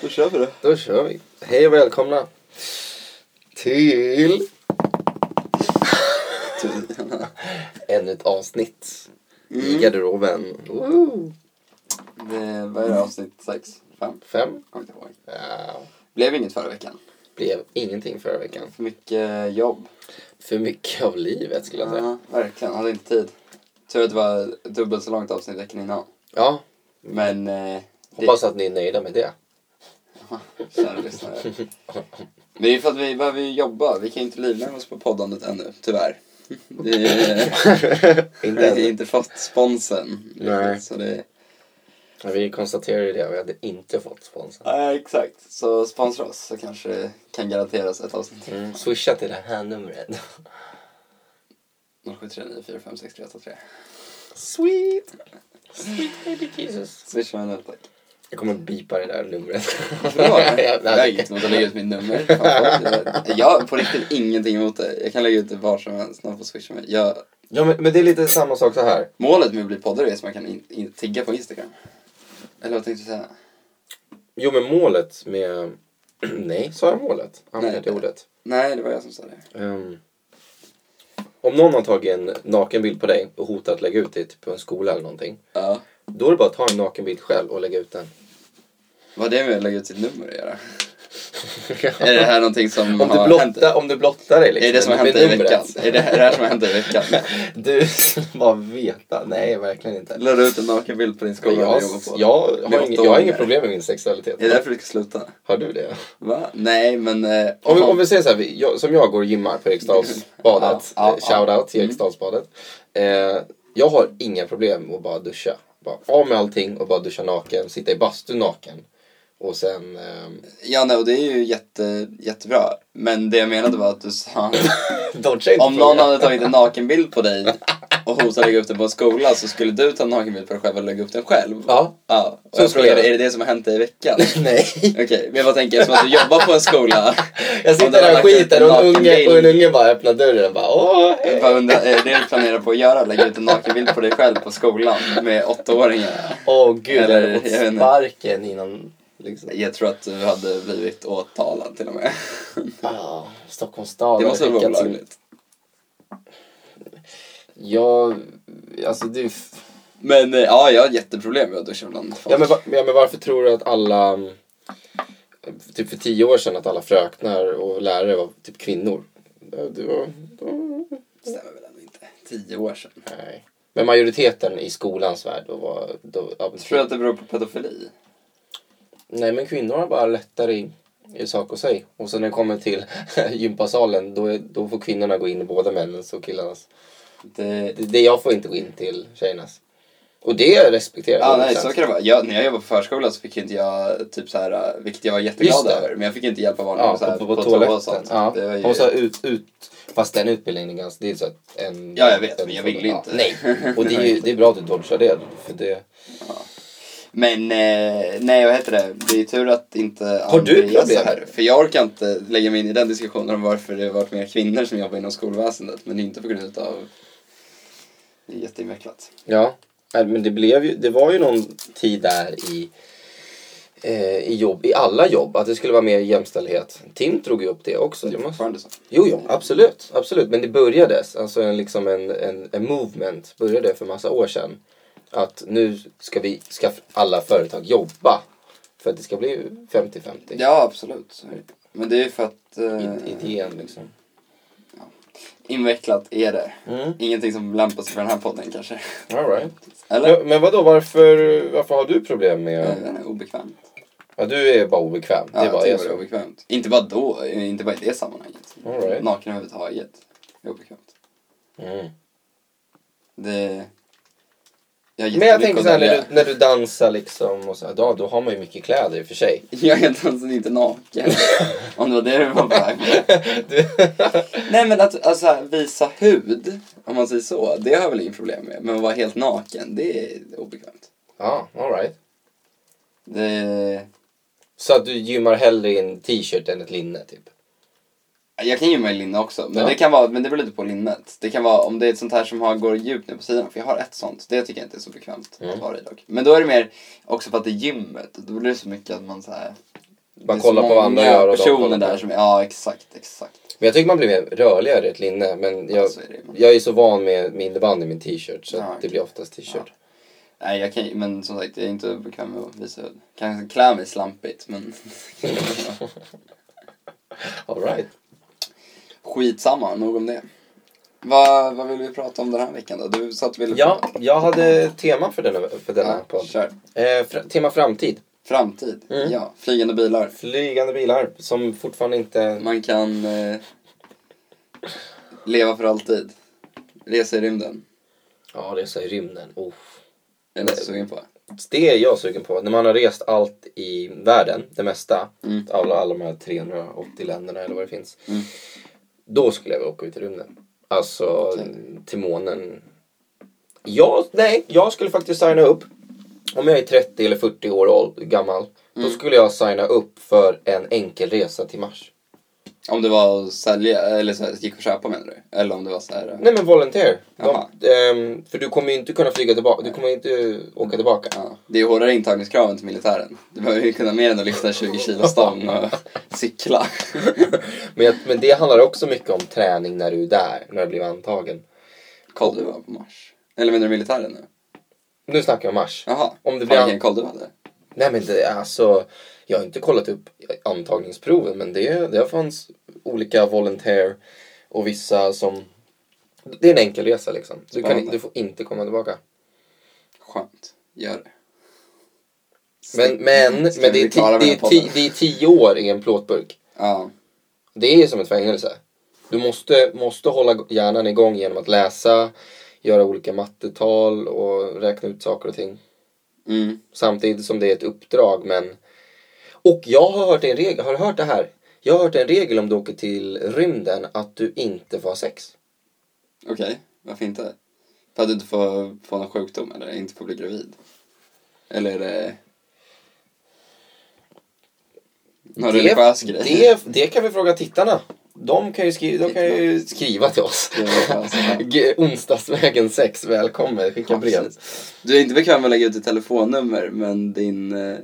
Då kör vi det. Då kör vi. Hej och välkomna till ännu ett avsnitt Mm. i garderoben. Mm. Woo! Det, eh, vad är det, avsnitt sex? Fem? Fem. Jag kommer inte ihåg. Ja, Blev inget förra veckan. blev ingenting förra veckan. För mycket jobb. För mycket av livet skulle jag säga. Ja, verkligen. Hade inte tid. Tur att det var dubbelt så långt avsnitt veckan innan. Ja, Men... Eh, hoppas att ni är nöjda med det. det, kära lyssnare. Det är ju för att vi behöver ju jobba. Vi kan ju inte livnära oss på poddandet ännu, tyvärr. Vi, eh, Inte vi har än. inte fått sponsen. Nej. Så det, Men Vi konstaterar ju det, vi hade inte fått sponsorn. nej, exakt. Så sponsra oss så kanske det kan garanteras ett avsnitt. Mm. Swisha till det här numret. 0739456383. Sweet! Sweet baby Jesus. Swisha mig nu tack. Jag kommer bipa det där numret. Bra. Jag- Jag har inget emot att lägga ut mitt nummer. Fan, folk, Jag jag har på riktigt ingenting emot det. Jag kan lägga ut det var som helst. Någon får swisha mig. Jag, Ja, men, men det är lite samma sak så här. målet med att bli poddare är att man kan in, in, tigga på Instagram. Eller vad tänkte du säga? Jo, men målet med... Nej, sa jag målet? Nej. Använde det ordet. Nej, det var jag som sa det. Ehm, om någon har tagit en nakenbild på dig och hotat att lägga ut det typ på en skola eller någonting. Ja. Då är det bara att ta en nakenbild själv och lägga ut den. Vad har det med att lägga ut sitt nummer att göra? är det här någonting som om, du har hänt? blotta, om du blottar dig liksom. Är det som har med hänt i numret. veckan? Är det här, är det här som har hänt i veckan? Du skulle bara veta. Nej, verkligen inte. La du ut en nakenbild på din skola Jag, du jag, jobbar på? Med har åtta inga, jag har inga åringar. problem med min Är det sexualitet. därför du ska sluta? Har du det? Va? Nej, men... Eh, Om vi, om vi säger så här, vi, jag, som jag går och gymmar på Eriksdalsbadet. Ja, mm. ja, eh, Shoutout till Eriksdalsbadet. Eh, jag har inga problem med att bara duscha. Bara av med allting och bara duscha naken, sitta i bastun naken. Och sen... ehm, Ja, nej, och det är ju jätte, jättebra. Men det jag menade var att du sa... don't change Om the någon program. hade tagit en nakenbild på dig och hotat att lägga upp den på en skola så skulle du ta en nakenbild på dig själv och lägga upp den själv. Ja. ja. Och Så jag skulle frågade, jag. är det det som har hänt dig i veckan? Nej. Okej, men jag bara tänker, eftersom att du jobbar på en skola. Jag om du sitter där hade och lagt ut skiter och en, unge, nakenbild- och en unge bara öppnar dörren och bara åh Jag hej. bara undrar, är det det du planerar på att göra? Lägga ut en nakenbild på dig själv på skolan med åttaåringar? Åh gud, Eller, jag jag vet hade fått inte. sparken innan liksom. Jag tror att du hade blivit åtalad till och med. Ah, Stockholms stad Det har måste vara skickat sin- olagligt. Ja, alltså det är ju- Men eh, ja, jag har jätteproblem med att duscha bland folk. Ja men, va- ja men varför tror du att alla, mm, typ för tio år sedan att alla fröknar och lärare var typ kvinnor? Det det var, de- stämmer väl ändå inte. Tio år sedan. nej. Men majoriteten i skolans värld då var... Då, ja, men- Tror du att det beror på pedofili? Nej men kvinnor har bara lättare i, i sak och sig. Och sen när det kommer till gympasalen då, är, då får kvinnorna gå in i både männens och killarnas. Det... Det, det jag får inte gå in till tjejernas. Och det respekterar jag. Ja, nej, så 100%. kan det vara. Jag, när jag jobbade på förskola så fick inte jag, typ så här, eh, vilket jag var jätteglad Just det. över, men jag fick inte hjälpa barnen Ja, med så här, på, på, på toaletten. och sånt. ja. Det var ju... Och så ut, ut. Fast den utbildningen är ganska... Det är så att en, Ja, jag vet, en, men jag vill ja, inte. Nej, och det är, ju, det är bra att du dodgar det. För det Men eh, nej, vad heter det? Det är tur att inte Har du Andreas är problem? här. För jag orkar inte lägga mig in i den diskussionen om varför det har varit mer kvinnor som jobbar inom skolväsendet. Men det är inte på grund av... Det är jätteinvecklat. ja, Nej, men det, blev ju, det var ju någon tid där i, eh, i, jobb, i alla jobb att det skulle vara mer jämställdhet. Tim drog ju upp det också. Det är Det måste- fortfarande så. Jo, jo, absolut, absolut. Men det började, alltså en, liksom en, en, en movement började för massa år sedan. Att nu ska, vi, ska alla företag jobba för att det ska bli 50-50. Ja, absolut. Så är det. Men det är ju för att... Eh, I- Idén liksom. invecklat är det. Mm. Ingenting som lämpar sig för den här podden kanske. All right. Eller? Eh, Men, men vadå, varför, varför har du problem Jag med... vet inte, Obekvämt. Ja, du är bara obekväm. Mm. Ja, det bara är jag tycker det så. är obekvämt. Inte bara då, eh, inte bara i det sammanhanget. All right. Naken överhuvudtaget. Det är obekvämt. Mm. Det... Jag har Men jag jättemycket tänker att så här, när välja. du, när du dansar liksom och så här, då, då har man ju mycket kläder i och för sig. Jag är dansen inte naken. Om det var det du var på väg med. Du... Nej men att alltså, visa hud, om man säger så, det har jag väl inget problem med. Men att vara helt naken, det är obekvämt. ja, all right. Det... Så att du gymmar hellre i en t-shirt än ett linne typ. Jag kan ju mig linne också, men, Ja. det kan vara, men det beror lite på linnet. Det kan vara om det är ett sånt här som har, går djupt ner på sidan, för jag har ett sånt. Det tycker jag inte är så bekvämt Mm. att ha det i dock. Men då är det mer också för att det är gymmet, då blir det så mycket att man så här, Man det är så kollar på vad andra många gör och de kollar personer på där en. som, ja exakt, exakt. Men jag tycker man blir mer rörligare i ett linne. Men jag, Ja, så är det ju. jag är så van med med innebandy i min t-shirt Alltså- så Ja, att det okej. blir oftast t-shirt. Nej jag kan ju- men som sagt jag är inte bekväm med att visa hud. Kanske klä mig slampigt men All right. skitsamma, nog om det. Vad, vad vill vi prata om den här veckan då? Du sa att du ville... Ja, jag hade tema för denna, för denna ja podd. kör. Eh, fr- tema framtid. Framtid, Mm. ja. Flygande bilar. Flygande bilar som fortfarande inte... Man kan eh, leva för alltid. Resa i rymden. Ja, resa i rymden. Oh. Är du inte sugen på? Det är jag sugen på. När man har rest allt i världen, det mesta. Mm. Alla, alla de här 380 länderna eller vad det finns. Mm. Då skulle jag vilja åka ut i rymden. Alltså till månen. Jag, nej, jag skulle faktiskt signa upp. Om jag är 30 eller 40 år åld- gammal. Mm. Då skulle jag signa upp för en enkel resa till Mars. Om det var att sälja, eller så här, gick att köpa menar du? Eller om det var så här... eh, Nej men volontär. De, Jaha. ehm, för du kommer ju inte kunna flyga tillbaka. Du kommer ju inte eh, åka tillbaka. Ja. Det är ju hårdare intagningskraven till militären. Du behöver ju kunna mer än att lyfta 20 kilo stång och cykla. Men, jag, men det handlar också mycket om träning när du är där. När du blir antagen. Koll du var på Mars. Eller menar du militären nu? Nu snackar jag om Mars. Jaha. Om det blir Fan, an- vilken koll du hade. Nej men det, alltså, jag har inte kollat upp antagningsproven men det, det fanns olika volontärer och vissa som... Det är en enkel resa liksom. Du, kan, Spännande. du får inte komma tillbaka. Skönt. Gör det. Men, men, men Ska det, är vi ti, klara med det, är den här ti, podden? det är tio år i en plåtburk. Ja. Det är som ett fängelse. Du måste, måste hålla hjärnan igång genom att läsa, göra olika mattetal och räkna ut saker och ting. Mm. Samtidigt som det är ett uppdrag men... Och jag har hört en regel, har du hört det här? Jag har hört en regel om du åker till rymden att du inte får ha sex. Okej. Varför inte? För att du inte får, får någon sjukdom eller inte får bli gravid? Eller är det... Någon religiös grej? det, det kan vi fråga tittarna. De kan ju, skri, de kan ju skriva till oss. Det är religiöst. G- Onsdagsvägen 6, välkommen, skicka Ja, brev. precis. Du är inte bekväm med att lägga ut ditt telefonnummer, men din eh,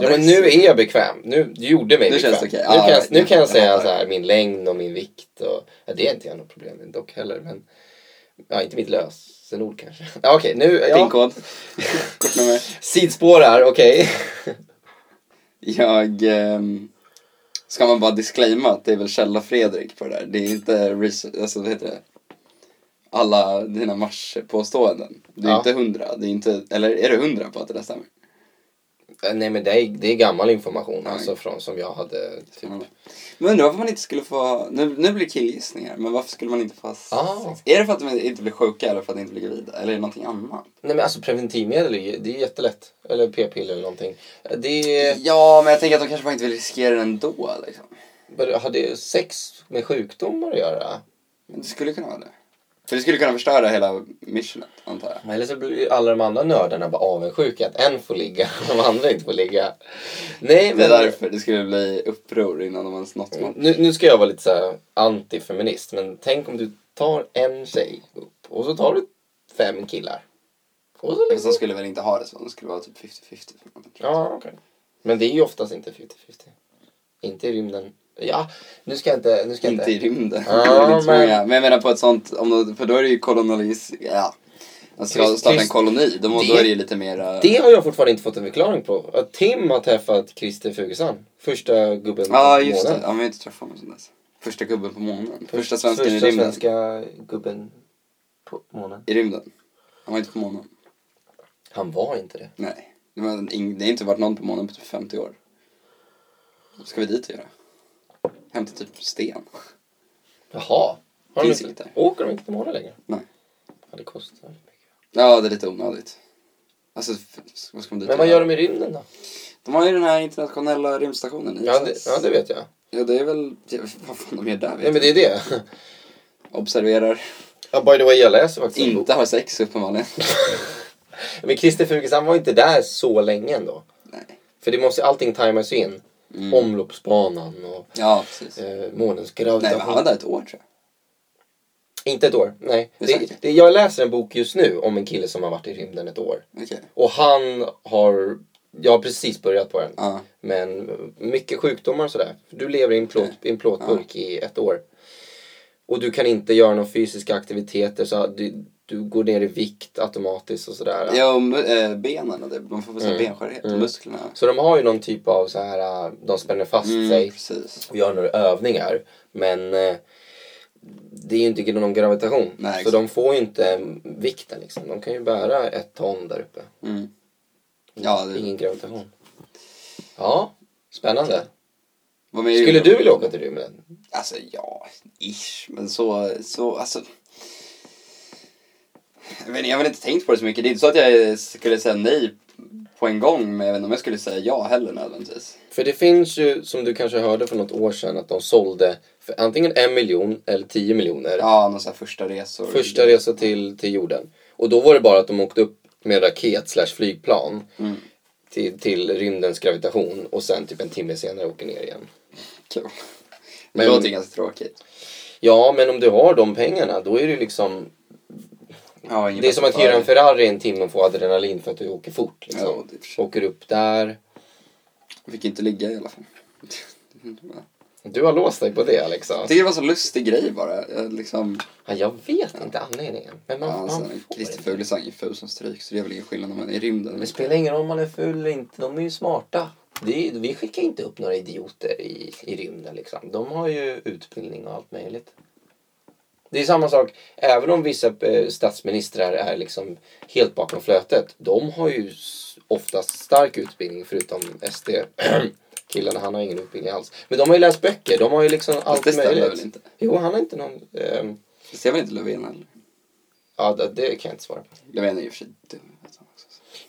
Ja, men nu är jag bekväm. Nu du gjorde mig Nu bekväm. känns det okej. Nu, Ja, kan jag, right. nu kan jag Jag säga fattar. så här, min längd och min vikt. Och, ja, det är inte jag något problem med dock heller. Men, ja, inte mitt lösenord kanske. Ja, Okej, nu... Ja, Pinkod. Kortnummer. Sidspår här, okej. Jag... ehm, ska man bara disclaima att det är väl Källa Fredrik på det där? Det är inte research, alltså vad heter det? Alla dina marspåståenden. Det är Ja. inte hundra, det är inte, eller är det hundra på att det där stämmer? Eh, Nej men det är, det är gammal information Nej. alltså från som jag hade typ. Ja. Men undrar varför man inte skulle få, nu, nu blir det killgissningar, men varför skulle man inte få sex? Ah. Är det för att de inte blir sjuka eller för att de inte blir gravida? Eller är det någonting annat? Nej men alltså preventivmedel är ju, det är jättelätt. Eller p-piller eller någonting. Eh, Det är, Ja, men jag tänker att de kanske bara inte vill riskera det ändå. Liksom. vad- har det sex med sjukdomar att göra? Men det skulle kunna vara det. För det skulle kunna förstöra hela missionet, antar jag. Eller så blir ju alla de andra nördarna bara avundsjuka att en får ligga och de andra inte får ligga. Nej Det är men. därför det skulle bli uppror innan de ens nått mål. Nu, nu ska jag vara lite så här antifeminist men tänk om du tar en tjej upp och så tar du fem killar. Och så Men liksom. de skulle väl inte ha det så, de skulle vara typ 50-50. för någonting. Ja, Alltså, okej. Men det är ju oftast inte 50-50. Inte i rymden. Ja, nu ska jag inte... Nu ska jag Inte i rymden. Ja, det är inte men... men- Många. men jag menar på ett sånt, om de, för då är det ju kolonalis... Ja. De ska Trist- starta en trist- koloni, då, det- då är det ju lite mer... Det har jag fortfarande inte fått en förklaring på. Att Tim har träffat Christer Fugesson. Första gubben Ja, ah, just det. månen. Ja, men jag har inte träffat honom sedan dess. Första gubben på månen. Första svensken i Första rymden. svenska gubben på månen. I rymden. Han var inte på månen. Han var inte det. Nej, det, var ing- det har inte varit någon på månen på typ 50 år. Vad ska vi dit och göra? Hämta typ sten? Jaha. Har de Finns inte, inte. åker de inte till månen längre? Nej. Ja, det kostar väldigt mycket. Ja, det är lite onödigt. Alltså, f- vad ska man dit Men och vad gör göra? de i rymden då? De har ju den här internationella rymdstationen Ja ISS. det, ja, det vet jag. ja, det är väl... ja, Vad fan de gör där vet Nej, men det är det. jag. Observerar. Ja, by the way, jag läser faktiskt en bok. Inte har sex uppenbarligen. Men Christer Fugesson var inte där så länge ändå. Nej. För det måste, allting timas ju in. Mm. Omloppsbanan och Ja, precis. eh, månens Nej, men han var gravitation. där ett år tror jag. Inte ett år, nej. Det är Det, säkert. det, jag läser en bok just nu om en kille som har varit i rymden ett år. Okej. Och han har, jag har precis börjat på den. Ja. Men mycket sjukdomar och sådär. Du lever i en, plåt, i en plåtburk i ett år. Och du kan inte göra några fysiska aktiviteter. Så du, du går ner i vikt automatiskt och sådär. Ja, och mu- eh, benen och det. Man får mm. benskörhet. och Musklerna. Så de har ju någon typ av så här, äh, de spänner fast Mm. sig Precis. och gör några övningar. Men eh, det är ju inte någon gravitation. Nej, så exakt. de får ju inte mm, vikten liksom. De kan ju bära ett ton där uppe. Mm. Ja, det Ingen gravitation. Ja, spännande. var med i Skulle rymden. du vilja åka till rymden? Alltså, ja, ish. Men så, så, alltså. Jag, vet, inte, jag har väl inte tänkt på det så mycket. Det är inte så att jag skulle säga nej på en gång. Men jag vet inte om jag skulle säga ja heller nödvändigtvis. För det finns ju, som du kanske hörde för något år sedan, att de sålde för antingen en miljon eller tio miljoner. Ja, någon sån här första resor. Första resa till, till jorden. Och då var det bara att de åkte upp med raket slash flygplan Mm. till, till rymdens gravitation och sen typ en timme senare åker ner igen. Kul. Men- Det låter ju ganska tråkigt. Ja, men om du har de pengarna då är det ju liksom... Ja, ingen Det är som att bättre hyra en Ferrari en timme och få adrenalin för att du åker fort. Liksom. Ja, det är för sig. åker upp där. Jag fick inte ligga i alla fall. Du har låst dig på det Alexa. Jag tycker det var så lustig grej bara. Jag liksom, Ja, jag vet inte anledningen. Men man, alltså, man får Christer inte. Fuglesang är ju ful som stryk så det är väl ingen skillnad om man är i rymden. Det spelar ingen roll om man är full eller inte. De är ju smarta. Det är, vi skickar inte upp några idioter i, i rymden. Liksom. De har ju utbildning och allt möjligt. Det är samma sak. Även om vissa eh, statsministrar är liksom helt bakom flötet. De har ju s- oftast stark utbildning förutom SD. Killen, han har ingen utbildning alls. Men de har ju läst böcker. De har ju liksom allt det stämmer möjligt. väl inte? Jo, han har inte någon... ehm, Det ser väl inte Löfven heller? ja, det, det kan jag inte svara på. Löfven är ju i och för sig dum. alltså.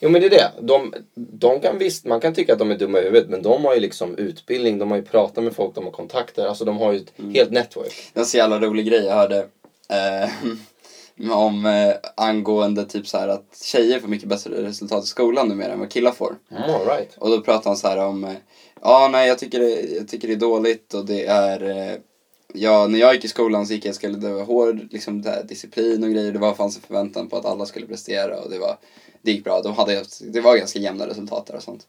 Jo men det är det. De, de kan visst, man kan tycka att de är dumma i huvudet men de har ju liksom utbildning, de har ju pratat med folk, de har kontakter. Alltså de har ju ett helt network. Det var en så jävla rolig grej jag hörde. Eh, om eh, angående typ så här att tjejer får mycket bättre resultat i skolan numera än vad killar får. Mm, all right. Och då pratar han så här om, eh, ja nej jag tycker, det, jag tycker det är dåligt och det är, eh, ja när jag gick i skolan så gick jag i skolan, det var hård liksom, det här, disciplin och grejer, det var fanns en förväntan på att alla skulle prestera och det var, det gick bra, de hade, det var ganska jämna resultat där och sånt.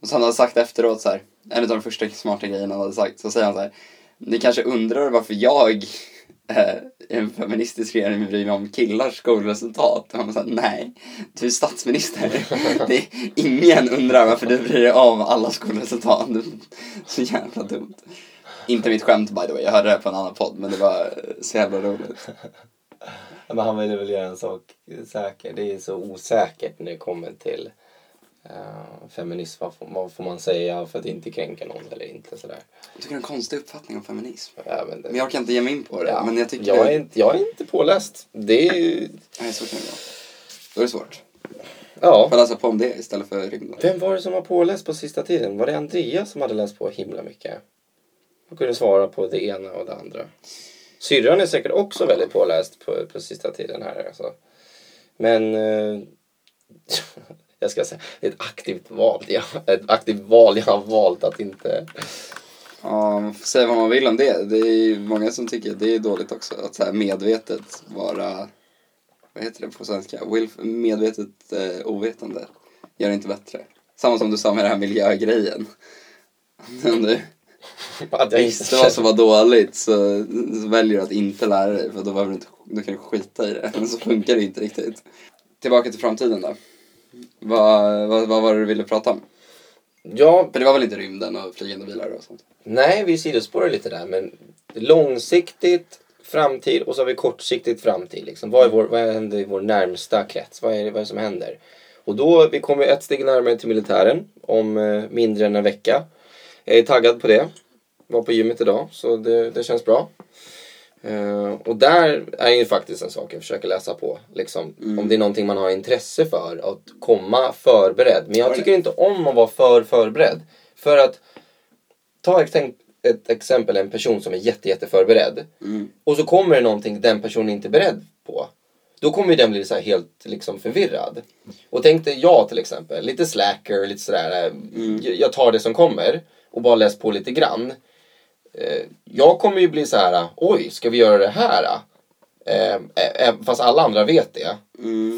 Och sen hade han sagt efteråt så här, en av de första smarta grejerna han hade sagt, så säger han så här, ni kanske undrar varför jag eh, i en feministisk regering bryr mig om killars skolresultat. Och han sa nej, du är statsminister. Det är, ingen undrar varför du bryr dig om alla skolresultat. Så jävla dumt. Inte mitt skämt by the way, jag hörde det på en annan podd men det var eh, så jävla roligt. Men han ville väl göra en sak säker. Det är så osäkert när det kommer till eh, feminism. Vad får, vad får man säga för att inte kränka någon eller inte sådär. Jag tycker det är en konstig uppfattning om feminism. Ja, men det- Men jag kan inte ge mig in på det. ja, Men jag tycker jag, det... är inte, jag är inte påläst. Det är ju... Nej, så kan det vara. Då är det svårt. Ja. Får läsa på om det istället för rymden. Vem var det som var påläst på sista tiden? Var det Andreas som hade läst på himla mycket? Och kunde svara på det ena och det andra. Syrran är säkert också väldigt påläst på, på sista tiden här alltså. Men... Eh, jag ska säga, det är ett aktivt val. Jag, ett aktivt val. Jag har valt att inte... Ja, man får säga vad man vill om det. Det är ju många som tycker det är dåligt också. Att så här medvetet vara, vad heter det på svenska? Willf- medvetet eh, ovetande gör det inte bättre. Samma som du sa med den här miljögrejen. Om du Att jag visste vad som var dåligt så, så väljer du att inte lära dig för då, behöver du inte, då kan du skita i det. Men så funkar det inte riktigt. Tillbaka till framtiden då. Vad, vad, vad var det du ville prata om? Ja, För det var väl inte rymden och flygande bilar och sånt? Nej, vi sidospårar lite där. Men långsiktigt framtid och så har vi kortsiktigt framtid. Liksom. Vad, är vår, vad händer i vår närmsta krets? Vad är, det, vad är det som händer? Och då, vi kommer ett steg närmare till militären om eh, mindre än en vecka. Jag är taggad på det. Var på gymmet idag, så det, det känns bra. Eh, och där är ju faktiskt en sak jag försöker läsa på. Liksom, Om det är någonting man har intresse för, att komma förberedd. Men jag tycker inte om att vara för förberedd. För att ta ett, tänk- ett exempel Mm. en person som är jätte, jätte förberedd. Och så kommer det någonting den personen inte är beredd på. Då kommer ju den bli så här helt liksom förvirrad. Och tänk dig jag till exempel, lite slacker, lite sådär, eh, jag- jag tar det som kommer och bara läser på lite grann. Eh, jag kommer ju bli så här, oj, ska vi göra det här? Eh, eh, eh, fast alla andra vet det.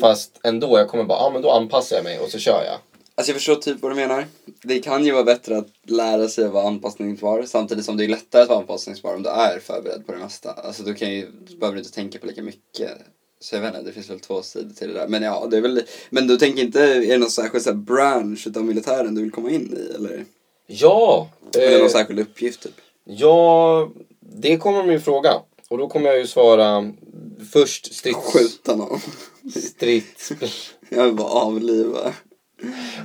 Fast ändå, jag kommer bara, ja ah, men då anpassar jag mig och så kör jag. Alltså jag förstår typ vad du menar. Det kan ju vara bättre att lära sig att vara anpassningsbar samtidigt som det är lättare att vara anpassningsbar om du är förberedd på det mesta. Alltså då kan ju, då behöver du inte tänka på lika mycket. Så jag vet inte, det finns väl två sidor till det där. Men ja, det är väl, men du tänker inte, är det någon särskild så här bransch utav militären du vill komma in i eller? Ja! Eller någon eh, särskild uppgift typ? Ja, det kommer min fråga. Och då kommer jag ju svara först strids... Skjuta någon. strids Jag vill bara avliva.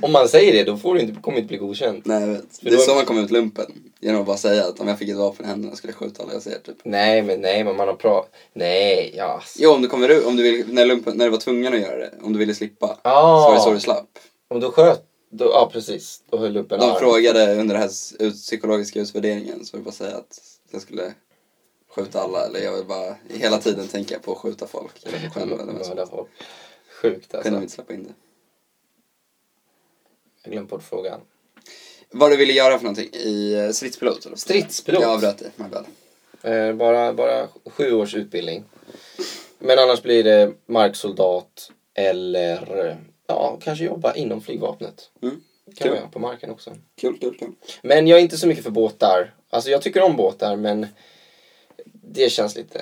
Om man säger det, då får du inte, kommer inte bli godkänt. Nej jag vet. Det är då- så man kommer ut lumpen. Genom att bara säga att om jag fick ett vapen i händerna skulle jag skjuta alla jag ser typ. Nej, men nej, men man har pratat... Nej, ja. ass- Jo, om du kommer ut, om du vill, när, lumpen, när du var tvungen att göra det, om du ville slippa. Ah. Så var det så du slapp. Och då sköt... Då, ja, precis. Då höll upp en De arm. frågade under den här s- ut- psykologiska utvärderingen så var det bara att säga att jag skulle skjuta alla eller jag vill bara hela tiden tänka på att skjuta folk. Eller mig själv eller vad som Mm, Mörda helst. folk. Sjukt alltså. Kunde vi Jag inte släppa in det. glömde bort frågan. Vad du ville göra för någonting i eh, stridspilot? eller? Stridspilot? Jag avbröt dig, my bad. Eh, bara, bara sju års utbildning. Men annars blir det marksoldat eller ja, kanske jobba inom flygvapnet. Mm. Kan Kul. man göra på marken också. Kul, kul, kul. Men jag är inte så mycket för båtar. Alltså jag tycker om båtar men det känns lite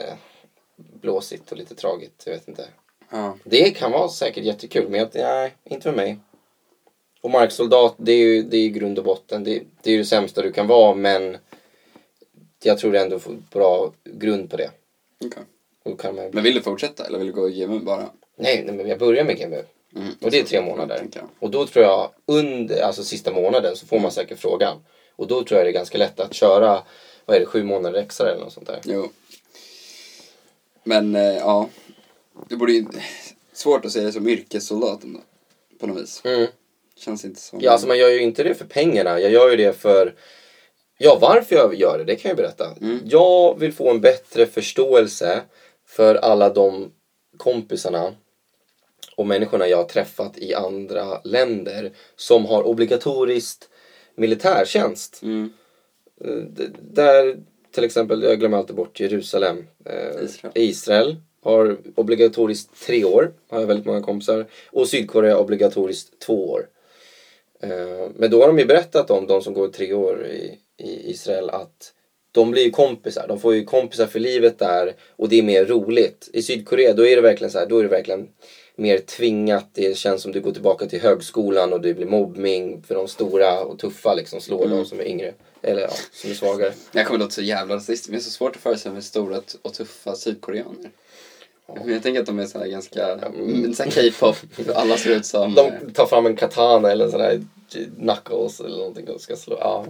blåsigt och lite tragiskt. Jag vet inte. Ja. Det kan vara säkert jättekul men jag, nej, inte för mig. Och marksoldat, det är ju det är ju grund och botten. Det, det är ju det sämsta du kan vara men jag tror ändå får bra grund på det. Okej. Och då kan man... Men vill du fortsätta eller vill du gå i GMU bara? nej, nej, men jag börjar med GMU. Mm. Och det är tre månader. Tänker jag. Och då tror jag under, alltså sista månaden så får man säkert frågan. Och då tror jag det är ganska lätt att köra, vad är det, sju månader extra eller något sånt där. Jo. Men eh, ja, det borde ju... Svårt att säga det som yrkessoldat ändå. På något vis. Mm. Känns inte som... Ja, alltså man gör ju inte det för pengarna. Jag gör ju det för, ja varför jag gör det, det kan jag ju berätta. Mm. Jag vill få en bättre förståelse för alla de kompisarna och människorna jag har träffat i andra länder som har obligatoriskt militärtjänst. Mm. Eh, D- där till exempel, jag glömmer alltid bort Jerusalem. Eh, Israel. Israel har obligatoriskt tre år, har jag väldigt många kompisar. Och Sydkorea obligatoriskt två år. Eh, men då har de ju berättat om de som går tre år i, i Israel att de blir ju kompisar, de får ju kompisar för livet där och det är mer roligt. I Sydkorea då är det verkligen så här, då är det verkligen mer tvingat, det känns som du går tillbaka till högskolan och det blir mobbning för de stora och tuffa liksom slår de som är yngre. Eller ja, som är svagare. Jag kommer låta så jävla rasist, men det är så svårt att föreställa mig stora t- och tuffa sydkoreaner. Men jag tänker att de är så här ganska... Mm. Så här K-pop, alla ser ut som... eh, De tar fram en katana eller en sån här knuckles eller någonting och ska slå. Ja.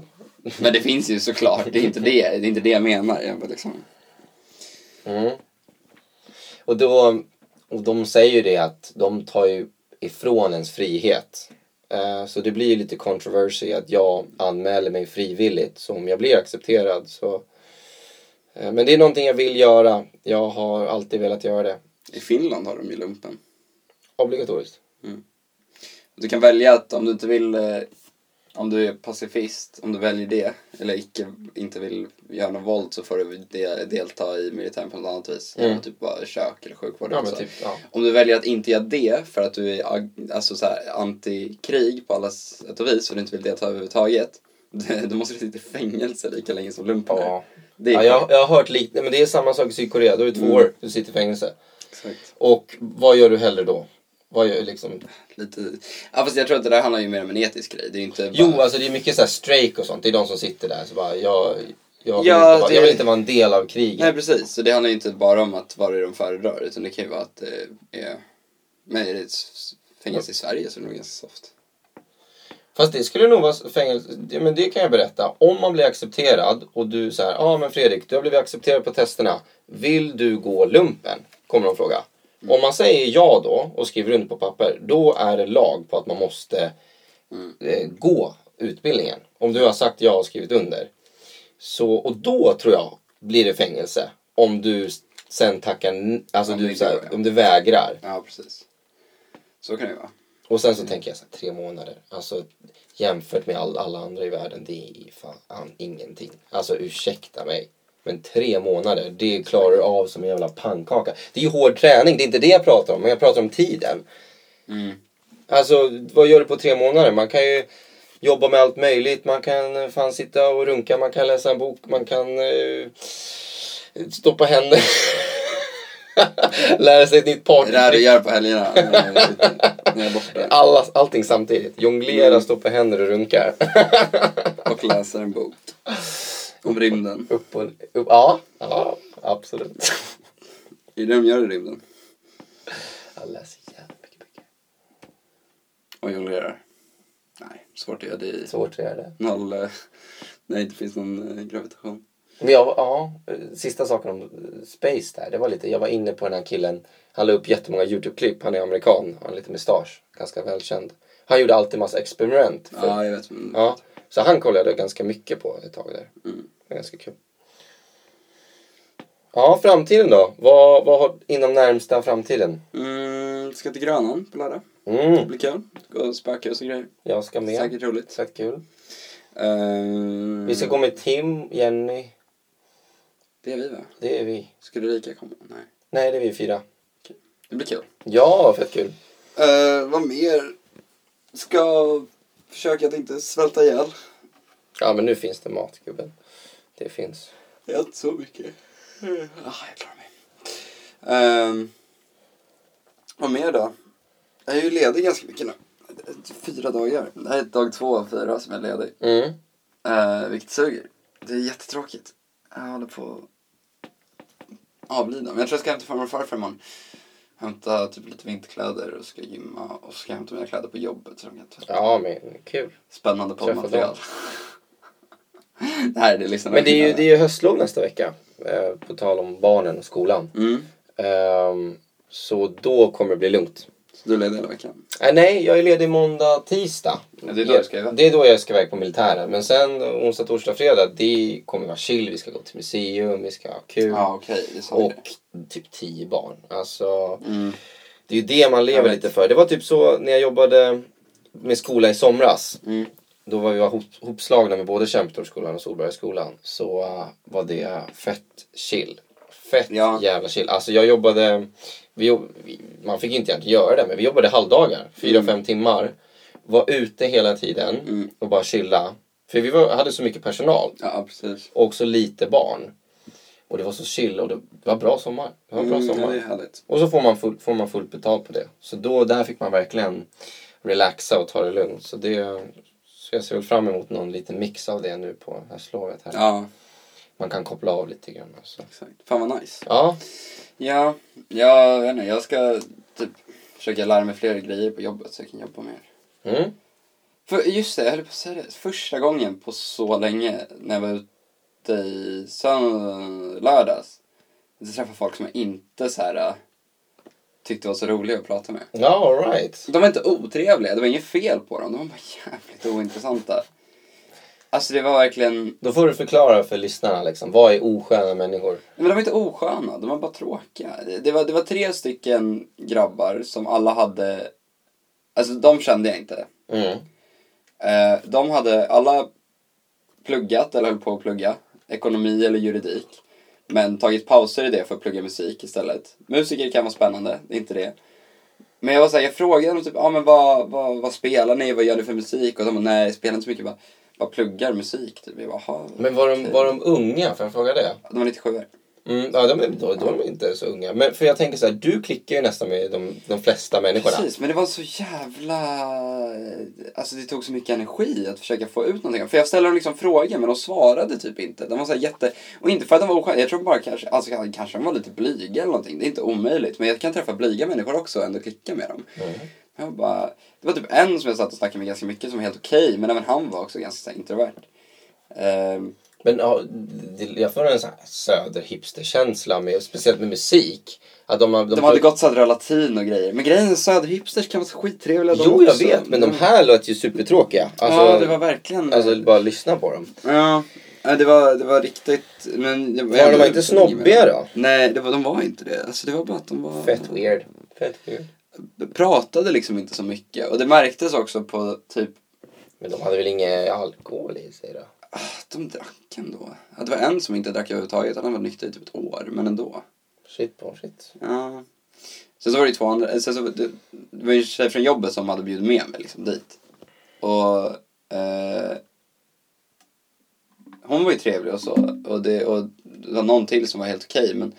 Men det finns ju såklart, det är inte det, det, är inte det jag menar. Jag bara liksom... Mm. Och, då, och de säger ju det att de tar ju ifrån ens frihet. Eh, Så det blir ju lite controversy att jag anmäler mig frivilligt. Så om jag blir accepterad så... eh, Men det är någonting jag vill göra. Jag har alltid velat göra det. I Finland har de ju lumpen. Obligatoriskt. Du kan välja att om du inte vill, eh, om du är pacifist, om du väljer det, eller icke, inte vill göra något våld så får du de, delta i militären på något annat vis. Mm. Eller Typ bara kök eller sjukvård. Ja, också. men typ, ja. Om du väljer att inte göra det för att du är ag- alltså så här, antikrig på alla sätt och vis och du inte vill delta överhuvudtaget. Då måste du sitta i fängelse lika länge som lumpen är. Ja. Det är Ja, jag, jag har hört lite, men det är samma sak i Sydkorea. Då är det två år, du sitter i fängelse. Exakt. Och vad gör du hellre då? Vad gör liksom... Lite... Ja, fast jag tror att det där handlar ju mer om en etisk grej. Det är ju inte typ bara... Jo, alltså det är mycket så här strejk och sånt. Det är de som sitter där. Så bara, jag, jag, vill Ja, inte vara, jag det- vill inte vara en del av kriget. Nej precis, så det handlar ju inte bara om att vad det är de föredrar utan det kan ju vara att det är... Men är det ett s- fängelse i Sverige så är det nog ganska soft. Fast det skulle nog vara fängelse. Ja, men det kan jag berätta. Om man blir accepterad och du säger, ja ah, men Fredrik, du har blivit accepterad på testerna. Vill du gå lumpen? Kommer de fråga. Mm. Om man säger ja då och skriver under på papper, då är det lag på att man måste Mm. eh, gå utbildningen. Om du har sagt ja och skrivit under. Så, och då tror jag blir det fängelse. Om du s- sen tackar n- alltså Om det du, inte så här, går, ja. om du vägrar. Ja, precis. Så kan det ju vara. Och sen så tänker jag så här, tre månader. Alltså jämfört med all, alla andra i världen, det är fan ingenting. Alltså ursäkta mig. Men tre månader, det klarar du av som en jävla pannkaka. Det är ju hård träning, det är inte det jag pratar om. Men jag pratar om tiden. Mm. Alltså vad gör du på tre månader? Man kan ju jobba med allt möjligt. Man kan eh, fan sitta och runka, man kan läsa en bok, man kan eh, stoppa händer. Lära sig ett nytt Det där du partytrick. gör på helgerna när jag sitter- när jag är borta Alla, allting samtidigt. Jonglera, Mm. stoppa händer och runka. och läser en bok. Om rymden. Upp och upp. Ja, ja absolut. Är det de gör i rymden? Jag läser jävligt mycket böcker. Och jonglerar? Nej, svårt att göra det i Svårt att göra det. noll... eh, När det inte finns någon eh, gravitation. Men jag, ja, eh, sista saken om eh, Space där, det var lite, jag var inne på den här killen, han la upp jättemånga YouTube-klipp, han är amerikan, han har lite mustasch, ganska välkänd. Han gjorde alltid massa experiment. För, Ja, jag vet. Men... ja, så han kollade jag ganska mycket på ett tag där. Mm. Det var ganska kul. Ja, framtiden då? Vad, vad har, inom närmsta framtiden? Mm, ska till Grönan på lördag. Det Mm, blir kul. Gå och spöka och så grejer. jag ska med. Säkert roligt. Säkert kul. Ehm, Vi ska gå med Tim, Jenny, Det är vi va? det är vi. Skulle Rika komma? Nej. Nej, det är vi fyra. Det blir kul. Ja, fett kul. Uh, vad mer? Ska försöka att inte svälta ihjäl. Ja, men nu finns det mat, gubben. Det finns. Det är inte så mycket. Mm. Ah, jag klarar mig. Ehm, vad mer då? Jag är ju ledig ganska mycket nu. Eh, Fyra dagar. Det här är dag två av fyra som jag är ledig. Mm. Uh, vilket suger. Det är jättetråkigt. Jag håller på att avlida. Men jag tror jag ska hämta farmor och farfar imorgon. Hämta typ lite vinterkläder och ska gymma. Och ska jag hämta mina kläder på jobbet. Så de kan ta- Ja, men kul. Spännande Träffa poddmaterial. det här är det liksom. Men det är ju, det är ju höstlov nästa vecka. Eh, på tal om barnen och skolan. Mm. Ehm, så då kommer det bli lugnt. Så du är ledig hela veckan? Äh, nej, jag är ledig måndag, tisdag. Ja, det är då du ska iväg. Det är då jag ska iväg på militären. Men sen onsdag, torsdag, fredag. Det kommer vara chill. Vi ska gå till museum. Vi ska ha kul. Ja okej, det sa och vi typ tio barn. Alltså, det. Mm. det är ju det man Jag lever vet. lite för. Det var typ så när jag jobbade med skola i somras. Mm. då var vi var hop, hopslagna med både Kämpetorpsskolan och Solbergsskolan så eh, var det fett chill. Fett Ja. jävla chill. Alltså jag jobbade, vi, jobb- vi, man fick ju inte egentligen göra det men vi jobbade halvdagar, fyra Mm. fem timmar. Var ute hela tiden Mm. och bara chilla. För vi var, hade så mycket personal Ja precis. och så lite barn. Och det var så chill och det var bra sommar. Det var en bra Mm, ja, sommar. det är härligt. Och så får man, full, får man fullt betalt på det. Så då, där fick man verkligen relaxa och ta det lugnt. Så, det, så jag ser väl fram emot någon liten mix av det nu på höstlovet här. Ja Man kan koppla av lite grann. Alltså. exakt. Fan vad nice. Ja, Ja, jag vet inte, jag ska typ försöka lära mig fler grejer på jobbet så jag kan jobba mer. mm. För just det, jag höll på att säga det. Första gången på så länge när jag var ute i söndag, lördags. Så träffade jag folk som jag inte så här äh, tyckte var så roliga att prata med. ja all right. De var inte otrevliga, det var inget fel på dem. De var bara jävligt ointressanta. Alltså det var verkligen... Då får du förklara för lyssnarna liksom, vad är osköna människor? Men de var inte osköna, de var bara tråkiga. Det var, det var tre stycken grabbar som alla hade... Alltså de kände jag inte. Mm. Eh, de hade alla pluggat, eller höll på att plugga, ekonomi eller juridik. Men tagit pauser i det för att plugga musik istället. Musiker kan vara spännande, det är inte det. Men jag var såhär, jag frågade dem typ, ah, men vad, vad, vad spelar ni, vad gör ni för musik? Och de bara, nej, jag spelar inte så mycket, jag bara, vad pluggar musik? Typ. Jag bara, "Jaha, Men var de, okej." var de unga? Får jag fråga det? De var 97 Mm, ja, de, är- då, då är de inte så unga. Men för jag tänker så här, du klickar ju nästan med de, de flesta människorna. Precis, men det var så jävla... Alltså det tog så mycket energi att försöka få ut någonting. För jag ställde dem liksom frågor men de svarade typ inte. De var så här jätte... Och inte för att de var osköna, jag tror bara kanske, alltså kanske de var lite blyga eller någonting. Det är inte omöjligt. Men jag kan träffa blyga människor också och ändå klicka med dem. Mm. Jag var bara... Det var typ en som jag satt och snackade med ganska mycket som var helt okej. men även han var också ganska så här introvert. Ehm, Men ja, det- jag får en sån här söderhipsterkänsla, med, speciellt med musik. Att de, har- de, de hade gått såhär latin och grejer. Men grejen är söderhipsters kan vara så skittrevliga de Jo, jag också. Mm. vet, men de här låter ju supertråkiga. Alltså, ja, det var verkligen... alltså bara lyssna på dem. Ja, Nej, det var, det var riktigt... Men det Var de inte snobbiga då? Nej, det var, de var inte det. Alltså, det var bara att de var... Fett weird. Fett weird. Pratade liksom inte så mycket. Och det märktes också på typ... Men de hade väl ingen alkohol i sig då? ah, De drack ändå. Ja, det var en som inte drack överhuvudtaget. Han var nykter i typ ett år, men ändå. Shit på shit. Ja. Sen så var det ju två andra, eh, sen så, det, det var ju en tjej från jobbet som hade bjudit med mig liksom dit. Och eh, hon var ju trevlig och så. Och det, och det var någon till som var helt okej. men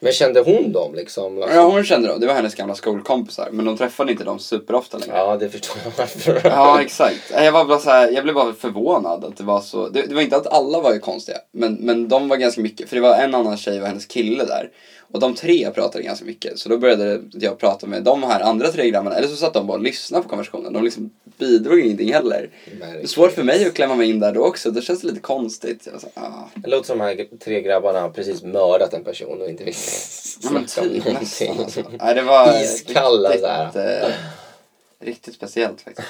Men kände hon dem liksom? Lasse? ja, hon kände dem, det var hennes gamla skolkompisar. Men de träffade inte dem superofta längre. ja, det förstår jag varför. Ja, exakt. Jag, var bara så här, jag blev bara förvånad att det var så. Det, det var inte att alla var ju konstiga, men, men de var ganska mycket. För det var en annan tjej och hennes kille där. Och de tre pratade ganska mycket. Så då började jag prata med de här andra tre grabbarna. Eller så satt de bara och lyssnade på konversationen. De liksom bidrog ingenting heller. Det är Märkligt. svårt för mig att klämma mig in där då också. Då känns det lite konstigt. Jag var så här, ah. Det låter som de här tre grabbarna har precis mördat en person och inte vill Ja, men snacka om typ någonting. nästan alltså. Nej, det var Iskalla riktigt, så här. eh, riktigt speciellt faktiskt.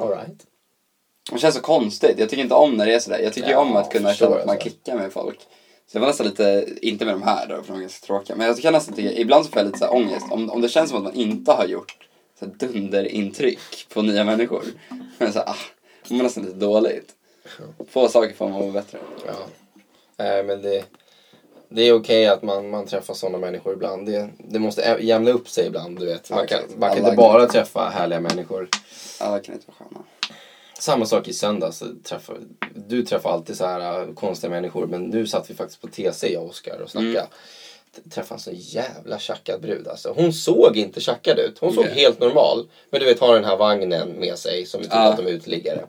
All right. Det känns så konstigt. Jag tycker inte om när det är sådär. Jag tycker ju Ja, om att kunna förstår känna att man jag. klickar med folk. Så det var nästan lite, inte med de här då, för de är ganska tråkiga. Men jag kan nästan tycka, ibland så får jag lite såhär ångest. Om, om det känns som att man inte har gjort så här dunderintryck på nya människor. Men såhär, ah, man mår nästan lite dåligt. Få saker får man må bättre. Ja. Nej, men det, det är okej att man, man träffar sådana människor ibland. Det, det måste ä- jämna upp sig ibland, du vet. Man kan, Exakt. man kan Alla- inte bara träffa härliga människor. Alla kan inte vara sköna. Samma sak i söndags. så träffar- Du träffar alltid så här äh, konstiga människor. Men nu satt vi faktiskt på TC, jag och Oskar, och snackade. T- Träffade en så jävla tjackad brud alltså. Hon såg inte tjackad ut. Hon såg Okej. helt normal. Men du vet, har den här vagnen med sig som vi tror Ja. att de är uteliggare.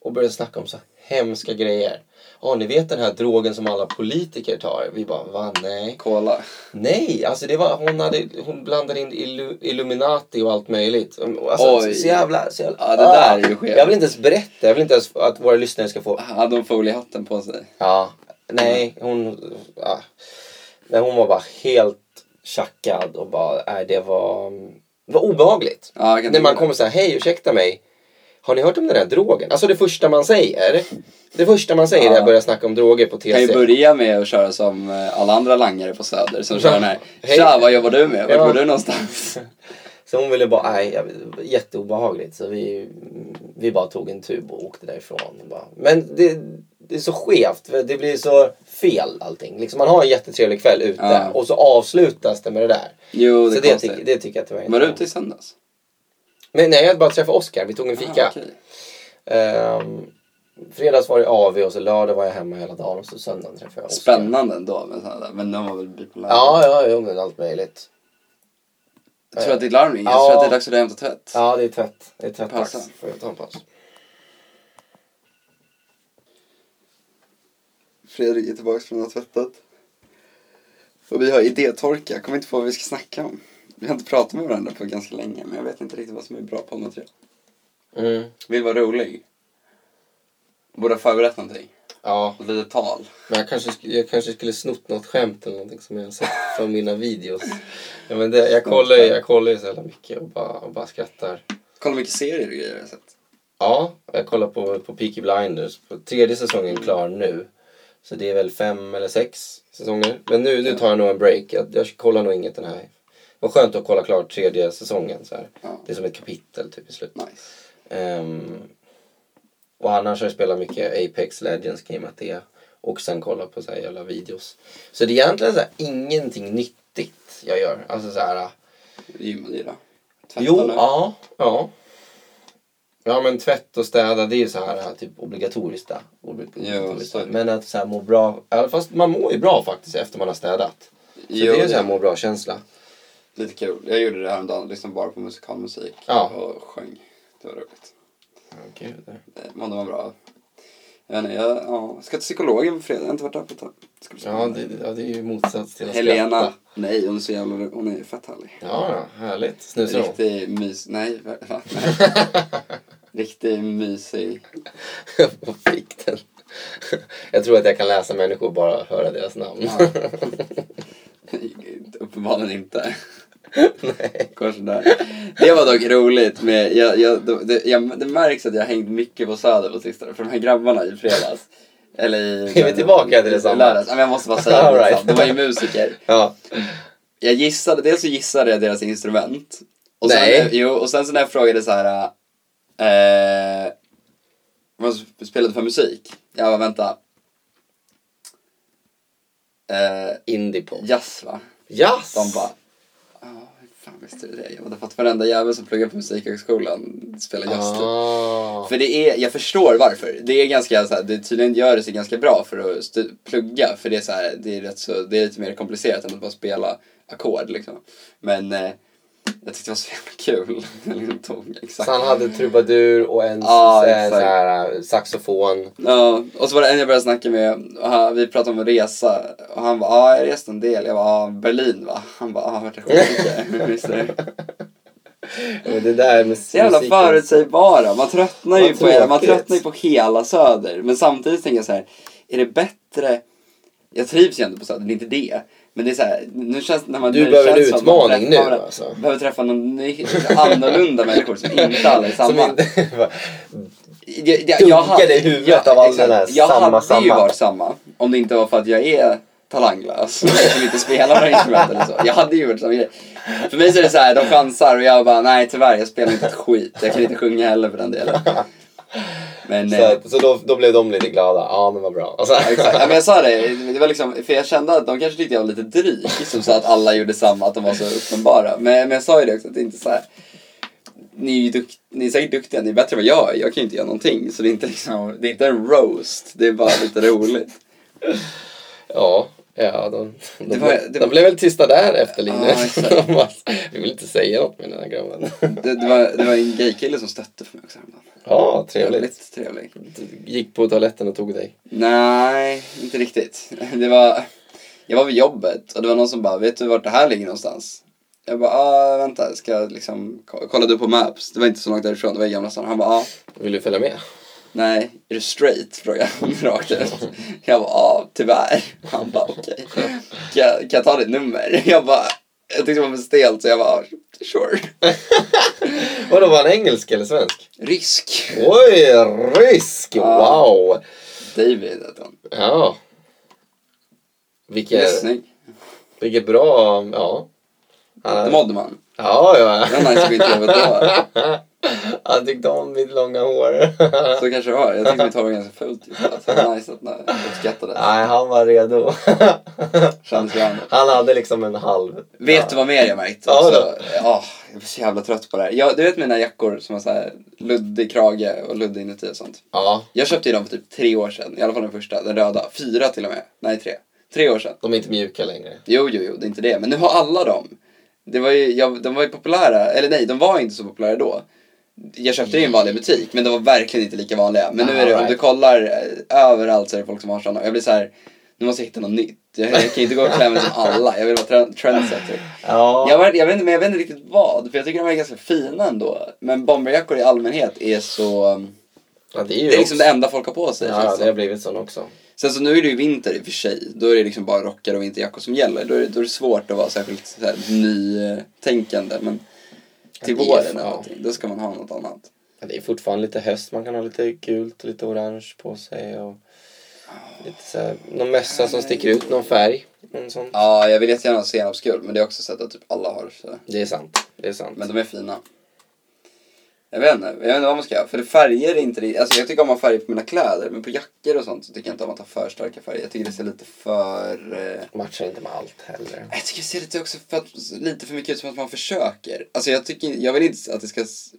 Och började snacka om så här hemska grejer. Ja, ni vet den här drogen som alla politiker tar. Vi bara, va? Nej. Kola. Nej, alltså det var, hon, hade, hon blandade in illu, Illuminati och allt möjligt. Alltså, Oj. Så jävla... Så jävla Ah, Ja, det där är ju skevt. Jag vill inte ens berätta, jag vill inte ens att våra lyssnare ska få... Hade hon foliehatten på sig? Ja, nej, hon... Ja. Nej, hon var bara helt tjackad och bara, nej det var... Det var obehagligt. Ja, jag kan När man tänka kommer så här, hej ursäkta mig. Har ni hört om den där drogen? Alltså det första man säger. Det första man säger är att börja snacka om droger på Jag kan ju TC. börja med att köra som eh, alla andra langare på Söder som kör den här. Hej. Tja, vad jobbar du med? Var Ja. bor du någonstans? Så hon ville bara, nej, jag- det var jätteobehagligt. Så vi, vi bara tog en tub och åkte därifrån. Och Bara. Men det, det är så skevt, för det blir så fel allting. Liksom man har en jättetrevlig kväll ute Ja. och så avslutas det med det där. Jo, det så är det, konstigt. tycker- det tycker jag tyvärr Var inte du om. ute i söndags? Men nej, jag hade bara träffat Oscar, vi tog en fika. Ah, okej. Ehm, fredags var det AV och så lördag var jag hemma hela dagen och så söndagen träffade jag Oscar. Spännande ändå, men, sådär, men de var väl bipolär. Ja, ja, jo men allt möjligt. Jag tror att ditt larm ringer. Ja. Jag tror att det är dags att hämta tvätt. Ja, det är tvätt. Det är tvättdags. Pausa. Får jag ta en paus? Fredrik är tillbaka från att ha tvättat. Och vi har idétorka. Jag kommer inte på vad vi ska snacka om. Vi har inte pratat med varandra på ganska länge, men jag vet inte riktigt vad som är bra på material. Mm. Vill vara rolig. Borde ha förberett någonting. Ja, Ett litet tal. Men jag kanske, sk- jag kanske skulle snott något skämt eller någonting som jag har sett från mina videos. Ja, men det, jag, kollar ju, jag kollar ju så jävla mycket och bara, och bara skrattar. Kolla mycket serier och grejer jag har sett. Ja, jag kollar på, på Peaky Blinders. På tredje säsongen klar nu. Så det är väl fem eller sex säsonger. Men nu, nu tar jag nog en break. Jag, jag kollar nog inget den här. Vad skönt att kolla klart tredje säsongen. Så här. Ja. Det är som ett kapitel typ i slutet. Nice. Ehm, och annars har jag spelat mycket Apex Legends, gameat det. Och sen kollat på så här jävla videos. Så det är egentligen så här ingenting nyttigt jag gör. Alltså så här. Gymmade ju då. Tvättade. Jo, ja, ja. Ja men tvätt och städa det är ju så här typ obligatoriskt. där. obligatoriskt. så är det. men att så här må bra. Även fast man mår ju bra faktiskt efter man har städat. Så Jo, det är ju så här det- må bra känsla. Lite kul. Jag gjorde det häromdagen. Lyssnade bara på musikalmusik. Ja. Och sjöng. Det var roligt. Gud. Eh, mådde man bra av. Jag, vet inte, jag, ja, jag ska till psykologen på fredag. Jag har inte varit där på ett tag. Ska bli Ja spännande. det, ja det är ju motsats till att Helena. skratta. Nej, hon är så jävla Hon är fett härlig. Ja, ja, härligt. Snusar hon? Riktig mys... Nej, va? va? Nej. Riktig mysig. Vad fick den? Jag tror att jag kan läsa människor bara och höra deras namn. Ja. Uppenbarligen inte. Nej. Går sådär. Det var dock roligt. Med, jag, jag, det, jag, det märks att jag har hängt mycket på Söder på sistone. För de här grabbarna i fredags. Eller i... Är vi tillbaka till i detsamma? lördags. Nej, men jag måste bara säga All det. right. liksom. De var ju musiker. Ja. Jag gissade, dels så gissade jag deras instrument. Och sen, Nej. Jo, och sen så när jag frågade så här. Eh, vad spelade du för musik? Jag bara, vänta. Eh, Indiepop. jazz va? Jazz! De bara, ja, hur fan visste du det? Jag hade fått varenda jävel som pluggar på Musikhögskolan spelar jazz typ. ah. För det är, jag förstår varför. Det är ganska så här, det tydligen gör det sig ganska bra för att stu- plugga. För det är så här, det är rätt så, det är lite mer komplicerat än att bara spela ackord liksom. Men eh, jag tyckte det var så jävla kul. Jag liksom tog Så exakt. han hade trubadur och en, Ja, en exakt. så här, eh, saxofon. Ja, och så var det en jag började snacka med, och han, vi pratade om att resa. Och han bara, ja jag reste en del. Jag bara, ja Berlin va? Han bara, ja vart det skitmycket. Visst är det? Men det där med Så jävla musiken- förutsägbara. Man tröttnar ju Vad på hela, man tråkigt. tröttnar ju på hela Söder. Men samtidigt tänker jag så här, är det bättre... Jag trivs ju ändå på Söder, det är inte det. Men det är så här, nu känns när man... Du när det behöver känns som en att man utmaning träffar nu, varandra- alltså. Behöver träffa någon ny, annorlunda människor som inte alla är Som samma. inte- Jag, jag, dunkade hade- i huvudet av all exakt. den här Jag samma, hade ju samma. varit samma. Om det inte var för att jag är talanglös. Som inte spelar några instrument eller så. Jag hade ju varit samma grej. För mig så är det så här, de chansar och jag bara, nej tyvärr jag spelar inte ett skit. Jag kan inte sjunga heller för den delen. Men, Så, eh, att- så då, då blev de lite glada. Ja, men vad bra. Alltså, exakt. Ja, men jag sa det, det var liksom, för jag kände att de kanske tyckte jag var lite dryg som sa att alla gjorde samma, att de var så uppenbara. Men, men jag sa ju det också, att det är inte så här. Ni är, ju dukt, ni är säkert duktiga, ni är bättre än vad jag är. Jag kan ju inte göra någonting. Så det är inte, liksom, det är inte en roast, det är bara lite roligt. ja, ja de, de, Det var- blev- det de var- blev väl tysta där efter Ja, Linus. exakt. De bara, Vi vill inte säga något med den här grabben. Det, det, var, det var en gaykille som stötte för mig också häromdagen. Ja, trevligt. Väldigt trevlig. Gick på toaletten och tog dig. Nej, inte riktigt. Det var, jag var vid jobbet och det var någon som bara, vet du vart det här ligger någonstans? Jag bara, ah, vänta, ska jag liksom, ko- kollade upp på Maps. Det var inte så långt därifrån, det var i Gamla stan. Han bara, ah, Vill du följa med? nej, är du straight? Frågade han rakt ut. Jag bara, ah, tyvärr. Han bara, okej. Kan, jag- kan jag ta ditt nummer? Jag bara, jag tyckte det var för stelt så jag bara, ah, sure. Vadå, var han engelsk eller svensk? Rysk. Oj, rysk! Ja. Wow! David hette han. Ja. Vilket, Snygg. vilket bra... Ja. Det Han, mådde man. ja, ja. Det var nice att vi inte jobbet då. Han tyckte om mitt långa hår. Så kanske det var. Jag tyckte mitt hår var ganska fult just då. Så det var nice att man uppskattade det. Nej, han var redo. Kändes bra ändå. Han hade liksom en halv... Vet du vad mer jag märkt? Ja, Också, ja, jag blir så jävla trött på det här. Jag, du vet mina jackor som har så här luddig krage och ludd inuti och sånt. Ja, Jag köpte ju dem för typ tre år sedan. I alla fall den första, den röda. Fyra till och med. Nej, tre. Tre år sedan. de är inte mjuka längre. Jo, jo, jo, det är inte det. Men nu har alla dem. Det var ju, jag, de var ju populära, eller nej, de var inte så populära då. Jag köpte det i en vanlig butik, men de var verkligen inte lika vanliga. Men Ah, nu är det, om du kollar eh, överallt så är det folk som har sådana. Jag blir så här, nu måste jag hitta något nytt. Jag, jag kan inte gå och klä mig som alla, jag vill vara tre- trendsetter. Ja. Jag, var, jag, vet, inte- men jag vet inte riktigt vad, för jag tycker de är ganska fina ändå. Men bomberjackor i allmänhet är så, ja, det är ju det är liksom också- det enda folk har på sig. känns Ja, det det har blivit sån också. Sen så nu är det ju vinter i och för sig. Då är det liksom bara rockar och vinterjackor som gäller. Då är det, då är det svårt att vara särskilt så här, nytänkande. Men till Ja, det är våren fan. eller någonting, då ska man ha något annat. Ja, det är fortfarande lite höst. Man kan ha lite gult och lite orange på sig. Och lite så här, någon mössa som sticker ut, någon färg. Någon sån. Ja, jag vill jättegärna ha senapsgul. Men det är också sett att typ alla har. Så. Det är sant. Det är sant. Men de är fina. Jag vet inte, jag vet inte vad man ska göra. För det färger är inte riktigt- Alltså jag tycker om att ha färger på mina kläder. Men på jackor och sånt så tycker jag inte om att ha för starka färger. Jag tycker det ser lite för... Eh... Matchar inte med allt heller. Jag tycker det ser lite, också för att, lite för mycket ut som att man försöker. Alltså jag, tycker, jag vill inte att det ska s-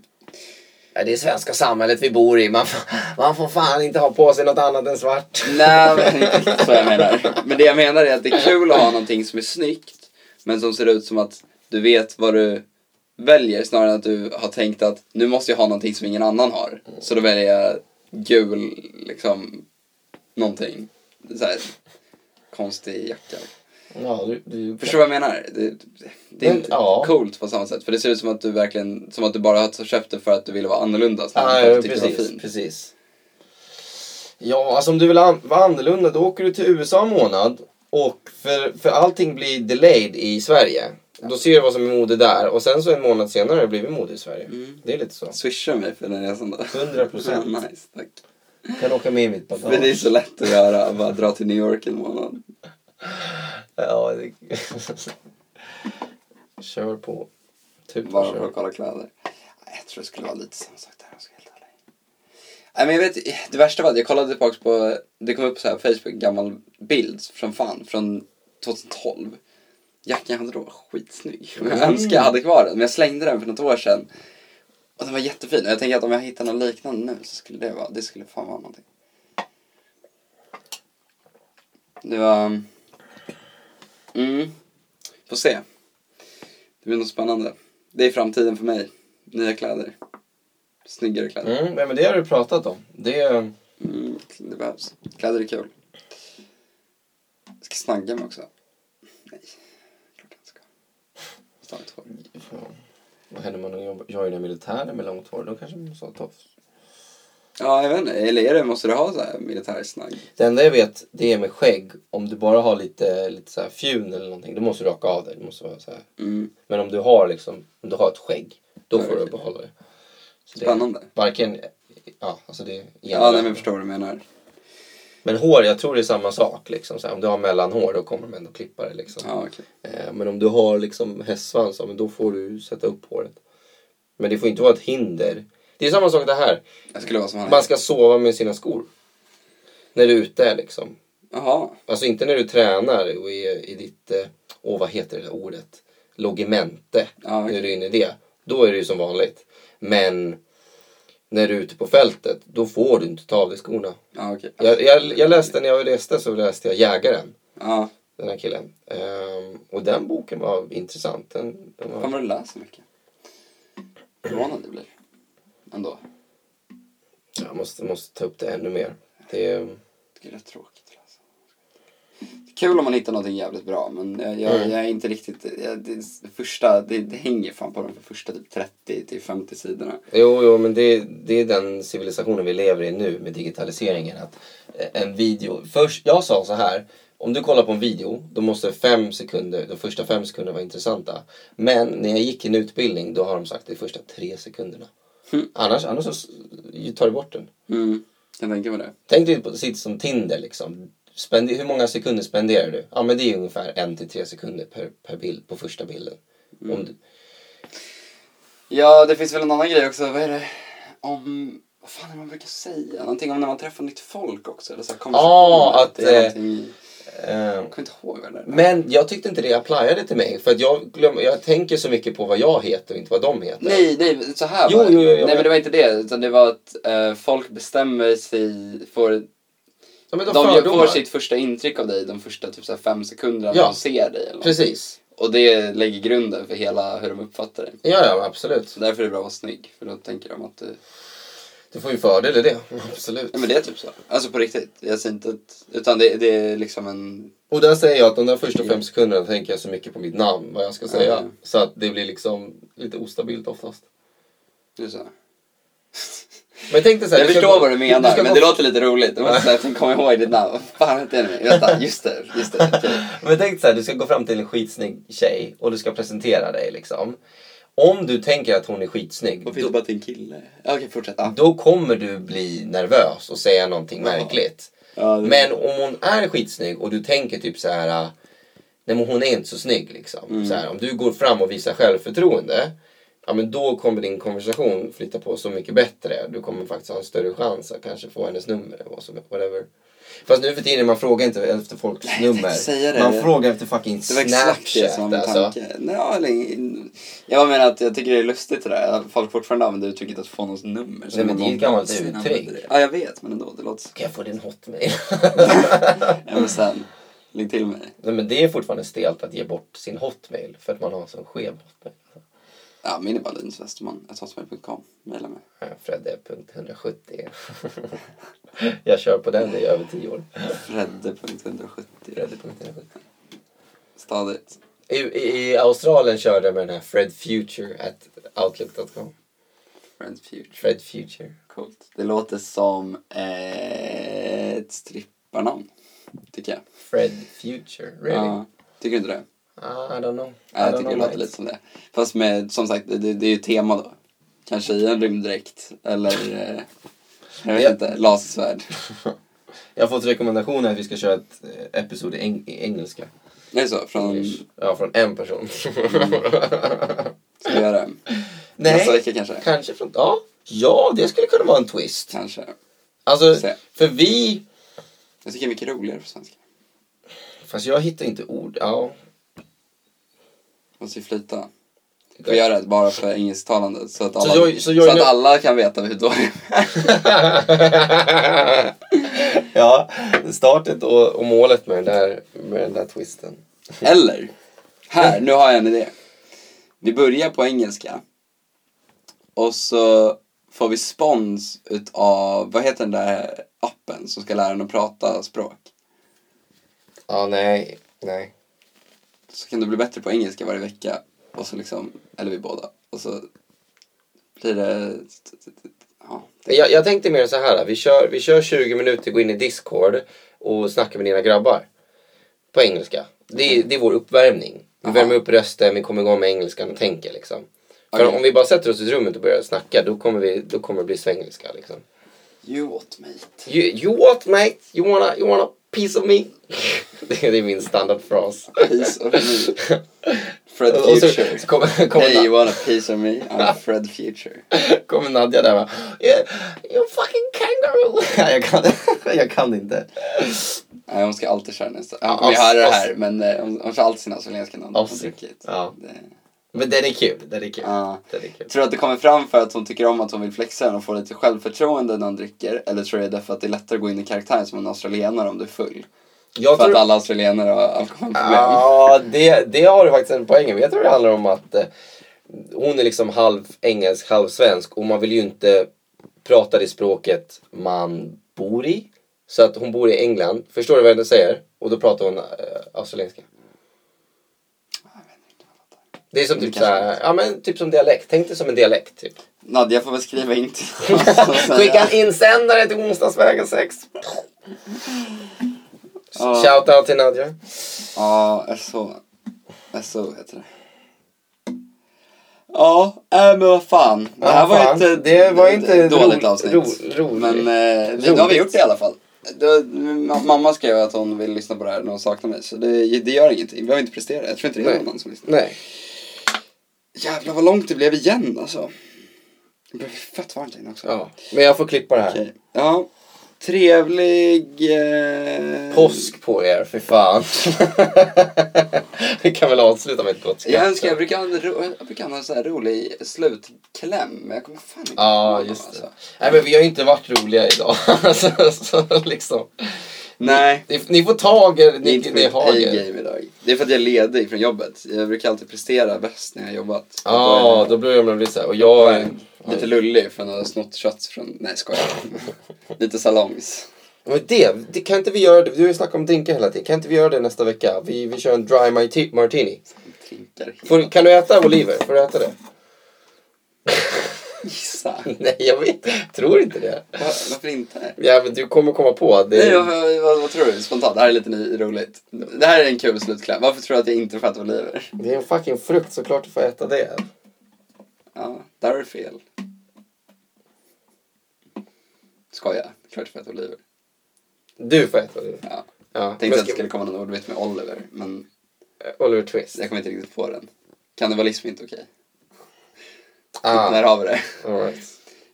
Ja, det är svenska samhället vi bor i. Man, får- man får fan inte ha på sig något annat än svart. Nej, men det är inte riktigt så jag menar. Men det jag menar är att det är kul att ha någonting som är snyggt, men som ser ut som att du vet vad du väljer snarare än att du har tänkt att nu måste jag ha någonting som ingen annan har. Så då väljer jag gul, liksom, någonting. Så här, konstig jacka. Ja, du, du, Förstår du vad jag menar? Det, det är Men, inte ja. coolt på samma sätt. För det ser ut som att du verkligen, som att du bara har köpt det för att du ville vara annorlunda. snarare Ja, än för ja, att du tyckte det var precis, fint. precis. Ja, alltså om du vill an- vara annorlunda då åker du till USA en månad. Och för, för allting blir delayed i Sverige. Då ser du vad som är mode där och sen så en månad senare blir vi mode i Sverige. Mm. Det är lite så. Swisha mig för den resan då. 100%. nice, tack. Kan åka med i mitt För det är bagage. så lätt att göra, bara dra till New York en månad. Ja, det... Kör på. Typ Bara kör. för att kolla kläder. Nej, Jag tror det skulle vara lite samma sak där om jag ska vara helt ärlig. Nej men jag vet, det värsta var att jag kollade tillbaks på, det kom upp så här på Facebook, en gammal bild från fan, från 2012. Jackan jag hade då var skitsnygg. Och Jag önskar jag hade kvar den, men jag slängde den för något år sedan. Och den var jättefin och jag tänker att om jag hittar något liknande nu så skulle det vara, det skulle fan vara någonting. Det var... Mm. Får se. Det blir något spännande. Det är framtiden för mig. Nya kläder. Snyggare kläder. Mm, nej, men det har du pratat om. Det är... Mm, det behövs. Kläder är kul. Jag ska snagga mig också. Nej, klart jag inte ska. Jag tar mitt hår. Ja. Vad händer om man jobb- joinar militären med långt hår? Då kanske man måste ha tofs. Ja, jag vet inte. Eller är det, måste du ha så här militärsnagg? Det enda jag vet, det är med skägg. Om du bara har lite, lite så här fjun eller någonting, då måste du raka av det. det måste vara så här. Mm. Men om du har liksom, om du har ett skägg, då Ja, får du det- behålla det. Så det är Spännande. varken, ja alltså det är Ja, nej, men jag förstår vad du menar. Men hår, jag tror det är samma sak liksom. Så här, om du har mellanhår, då kommer de ändå klippa det liksom. Ja, okej. Eh, Men om du har liksom hästsvans, ja, men då får du sätta upp håret. Men det får inte vara ett hinder. Det är samma sak det här. Jag skulle vara som han. Man ska sova med sina skor. När du är ute liksom. Jaha. Alltså inte när du tränar och är i ditt, eh, åh vad heter det där ordet? Logemente. Ja, okej. När du är inne i det. Då är det ju som vanligt. Men när du är ute på fältet, då får du inte ta av dig skorna. Ja, okej. Jag, jag, jag läste, när jag reste så läste jag Jägaren. Ja. Den här killen. Ehm, och den boken var intressant. Den, den Fan var... vad du läser mycket. Förvånande det blir. Ändå. Jag måste, måste ta upp det ännu mer. Det är... Det är rätt tråkigt att läsa. Det är Kul om man hittar någonting jävligt bra men jag, jag, Mm. jag är inte riktigt... Jag, det, det första, det, det hänger fan på de första typ 30 till 50 sidorna. Jo, jo, men det, det är den civilisationen vi lever i nu med digitaliseringen. Att eh, en video, först, jag sa så här, om du kollar på en video, då måste fem sekunder, de första fem sekunderna vara intressanta. Men när jag gick en utbildning, då har de sagt de första tre sekunderna. Mm. Annars, annars så s- tar du bort den. Mm. Jag tänker på det. Tänk dig på sitt som Tinder liksom. Spende, hur många sekunder spenderar du? Ja men det är ungefär en till tre sekunder per, per bild på första bilden. Om du, Ja, det finns väl en annan grej också. Vad är det? Om... Vad fan är det man brukar säga? Någonting om när man träffar nytt folk också. Eller så här Ja, att, det är eh, någonting- eh, Jag kommer inte ihåg vad det är. Men jag tyckte inte det applyade till mig. För att jag, glöm, jag tänker så mycket på vad jag heter och inte vad de heter. Nej, nej, så här Jo, var det. jo, jo, jo, Nej, men- men det var inte det. Utan det var att eh, folk bestämmer sig för Ja, men de, De gör, fördomar. får sitt första intryck av dig de första typ, så här, fem sekunderna Ja. när de ser dig. Eller något. Precis. och det lägger grunden för hela hur de uppfattar dig. Ja, ja, absolut. Så därför är det bra att vara snygg. För då tänker de att du... Du får ju fördel i det. Absolut. Nej men det är typ så. Alltså på riktigt. Jag ser inte att... Utan det, det är liksom en... Och där säger jag att de där första fem sekunderna tänker jag så mycket på mitt namn, vad jag ska säga. Mm. Så att det blir liksom lite ostabilt oftast. det är så. Men tänk dig så här, Jag du ska förstår gå- vad du menar, ska men gå- det låter lite roligt. Du måste säga att komma ihåg ditt namn. Vad fan hette jag nu? Vänta, just det. Just det. okej. Men tänk så här, du ska gå fram till en skitsnygg tjej och du ska presentera dig liksom. Om du tänker att hon är skitsnygg, Varför inte bara till en kille? Ja, Okej, fortsätt. Ja. då kommer du bli nervös och säga någonting Ja. märkligt. Ja, det- Men om hon är skitsnygg och du tänker typ så här. äh, Nej men hon är inte så snygg liksom. Mm. Så här, om du går fram och visar självförtroende. Ja men då kommer din konversation flytta på så mycket bättre. Du kommer faktiskt ha en större chans att kanske få hennes nummer eller vad som whatever. Fast nu för tiden man frågar inte efter folks jag nummer. tänkte säga det. Man frågar efter fucking Det var exakt det Snapchat som var min alltså. tanke. Nej, ja, eller in- jag bara menar att jag tycker det är lustigt det där. Att Folk fortfarande använder uttrycket att få någons nummer. som Nej, men om det är ju någon ett gammalt någonsin uttryck. använder det. Ja, jag vet, men ändå. Det låter så. Kan jag få din hotmail? Ja, men sen, lägg till mig. Nej men det är fortfarande stelt att ge bort sin hotmail. För att man har en sån skev hotmail. Ja, min är bara Linus Westerman. hotmail.com. Mejla mig. Eh, Fredde.170. jag kör på den i över tio år. Fredde.170. Fredde.170. Stadigt. I, i, I Australien körde jag med den här Fred Future at outlook.com. Friends Future. Fred Future. Coolt. Det låter som eh, ett stripparnamn. Tycker jag. Fred Future, really? Ja. Tycker du inte det? Ah, I don't know. I Ja, jag don't tycker det know, låter mate. lite som det. Fast med, som sagt, det, det är ju tema då. Kanske i en rymddräkt. Eller eh, Jag vet inte, lasersvärd. Jag har fått rekommendationer att vi ska köra ett eh, episod i, eng- i engelska. Det är så, från... English. Ja, från en person. Ska vi göra det? Nästa Nej, vecka kanske? kanske från... Ja, ja, det skulle kunna vara en twist. Kanske. Alltså, Se. för vi... Jag tycker det är mycket roligare på svenska. Fast jag hittar inte ord. Ja. Måste ju flyta. Får vi göra det bara för engelsktalande? Så att alla, så jag- så jag- att alla kan veta hur dålig ja, startet och, och målet med den där, med den där twisten. Eller, här, nu har jag en idé. Vi börjar på engelska. Och så får vi spons utav, vad heter den där appen som ska lära en att prata språk? Ja, nej, nej. Så kan du bli bättre på engelska varje vecka. Och så liksom, eller vi båda. Och så blir det, ja. Jag, jag tänkte mer så här. Vi kör, vi kör 20 minuter, går in i Discord och snackar med dina grabbar. På engelska. Det, är- det är vår uppvärmning. Vi Aha. värmer upp rösten, vi kommer igång med engelskan och tänker liksom. För Okej. om vi bara sätter oss i rummet och börjar snacka då kommer, vi, då kommer det bli svengelska liksom. You what mate? You, you what mate? You wanna, you wanna piece of me? det är det är min standardfras. Piece of me. Fred Och så, Future. så kommer, kommer, Hey you want a piece of me? I'm Fred Future. Nad- kommer Nadja där va? Yeah, you fucking kangaroo! Nej, jag kan, jag kan inte. Nej, hon ska alltid köra nästa. Hon kommer ju Aus- höra det aus- här, men eh, hon, hon kör alltid sina australienska namn. Hon Aus- tycker det. ja. Det- Men den är kul, den är kul. ja. Den är kul. Tror du att det kommer fram för att hon tycker om att hon vill flexa den och få lite självförtroende när hon dricker? Eller tror du det är därför att det är lättare att gå in i karaktären som en australienare om du är full? Jag för tror... att alla australienare har alkoholproblem. Ja, det, det har du faktiskt en poäng med. Jag tror det handlar om att eh, hon är liksom halv engelsk, halv svensk och man vill ju inte prata det språket man bor i. Så att hon bor i England, förstår du vad jag säger? Och då pratar hon eh, australienska. Det är som typ kanske såhär, ja men typ som dialekt. Tänk dig som en dialekt typ. Nadja får väl skriva in till oss och säga- Skicka en insändare till Onsdagsvägen 6. Ja. Shout out till Nadja. Ja, SO. SO heter det. Ja, äh, men vad fan. Det här Ja, var fan. ett Det var ett inte dåligt ro- avsnitt. ro- roligt. Men eh, nu Roligt. har vi gjort det i alla fall. Då, ma- mamma skrev att hon vill lyssna på det här när hon saknar mig. Så det, det gör ingenting. Vi behöver inte prestera. Jag tror inte det är Nej. någon annan som lyssnar. Nej. Jävlar vad långt det blev igen alltså. Det blev fett varmt inne också. Ja. Men jag får klippa det här. Okej. Ja. Trevlig... Eh... Påsk på er, för fan. Vi kan väl avsluta med ett gott skratt. Jag önskar, jag brukar ha en, ro, jag brukar ha en sån här rolig slutkläm, men jag kommer fan inte Ja, på just någon, det. alltså. Nej, men vi har ju inte varit roliga idag. så, så, liksom. Nej, ni, ni får tag er, det är ni, inte ni mitt har er. A-game idag. Det är för att jag är ledig från jobbet. Jag brukar alltid prestera bäst när jag har jobbat. Ja, då blir jag blir så här. Och jag... Fan, Lite lullig för att jag har snott kött från, nej skojar. Lite salongs. Men det, det, kan inte vi göra det? Du har ju snackat om drinkar hela tiden. Kan inte vi göra det nästa vecka? Vi, vi kör en dry marti- martini. Drinkar Får, kan du äta oliver? Får du äta det? Gissa. Nej, jag vet, tror inte det. Var- Varför inte? Ja, men du kommer komma på att det... Nej, vad, vad, vad tror du? Spontant, det här är lite ny, roligt. Det här är en kul slutkläm. Varför tror du att jag inte får äta oliver? Det är en fucking frukt, såklart du får äta det. Ja, där har du fel. Skoja, klart för att Oliver. Du får äta oliver. Ja. Ja, Tänkte men att det ska- skulle komma någon ordvits med Oliver, men Oliver Twist. jag kommer inte riktigt på den. Kannibalism är inte okej. Ah, Där har vi det. all right.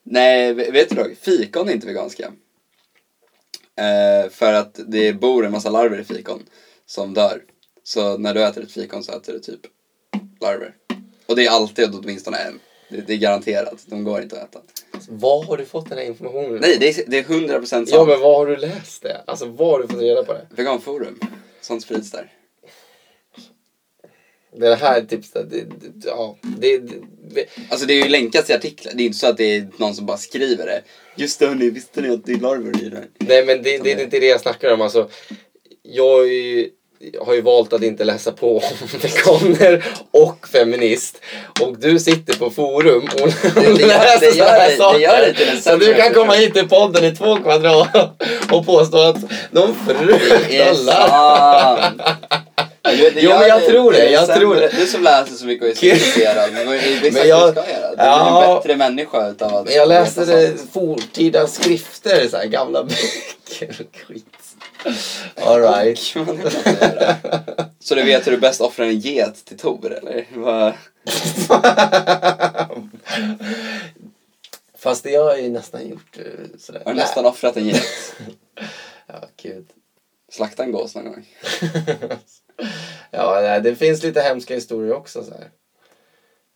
Nej, v- vet du dock, fikon är inte veganska. Eh, för att det bor en massa larver i fikon som dör. Så när du äter ett fikon så äter du typ larver. Och det är alltid åtminstone en. Det, det är garanterat, de går inte att äta. Vad har du fått den här informationen Nej, det är, det är 100% sant. Ja, men vad har du läst det? Alltså, vad har du fått reda på det? Veganforum, sånt sprids där. Det här tipset, det, det, ja. Det, det, det, Alltså det är ju länkat i artiklar, det är inte så att det är någon som bara skriver det. Just det hörni, visste ni att det är larver i det här? nej, men det, det är inte det jag snackar om. Alltså, jag är ju, har ju valt att inte läsa på om veganer och feminist. Och du sitter på forum och, det och gör- läser det sådana här gör- det gör det till saker. en Så du sämre kan komma person. hit till podden i två kvadrat och påstå att någon Det är fruktar larv. sant! Jo, Jo, men jag tror det, jag tror det. Du som läser så mycket och är så intresserad. men Det är Men sagt jag- jag... du ska göra. Du blir Ja. en bättre människa utav att... Men jag läste veta det sånt. forntida skrifter, så här gamla böcker och skit. Alright. Kan man inte göra. Så du vet hur du bäst offrar en get till Tor eller? Vad- Fast det har jag ju nästan gjort eh, sådär. Har du Nej. nästan offrat en get? Ja, gud. Slakta en gås någon gång. ja, nej, det finns lite hemska historier också så här.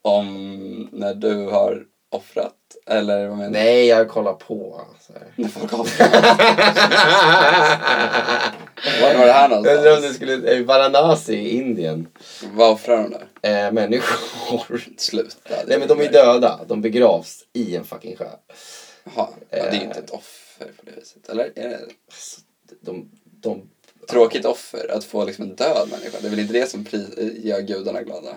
Om när du har offrat? Eller vad menar du? Nej, jag kollar på. Så här. När folk har offrat? Var var det här Jag undrar om det någonstans? skulle... eh, Varanasi i Indien. Vad offrar de där? Eh, människor. Sluta. det Nej men de är döda. De begravs i en fucking sjö. Jaha, ja, det är ju inte ett offer på det viset. Eller? Är det Alltså, De, de, ett tråkigt offer att få liksom en död människa? Det är väl inte det som pri- gör gudarna glada?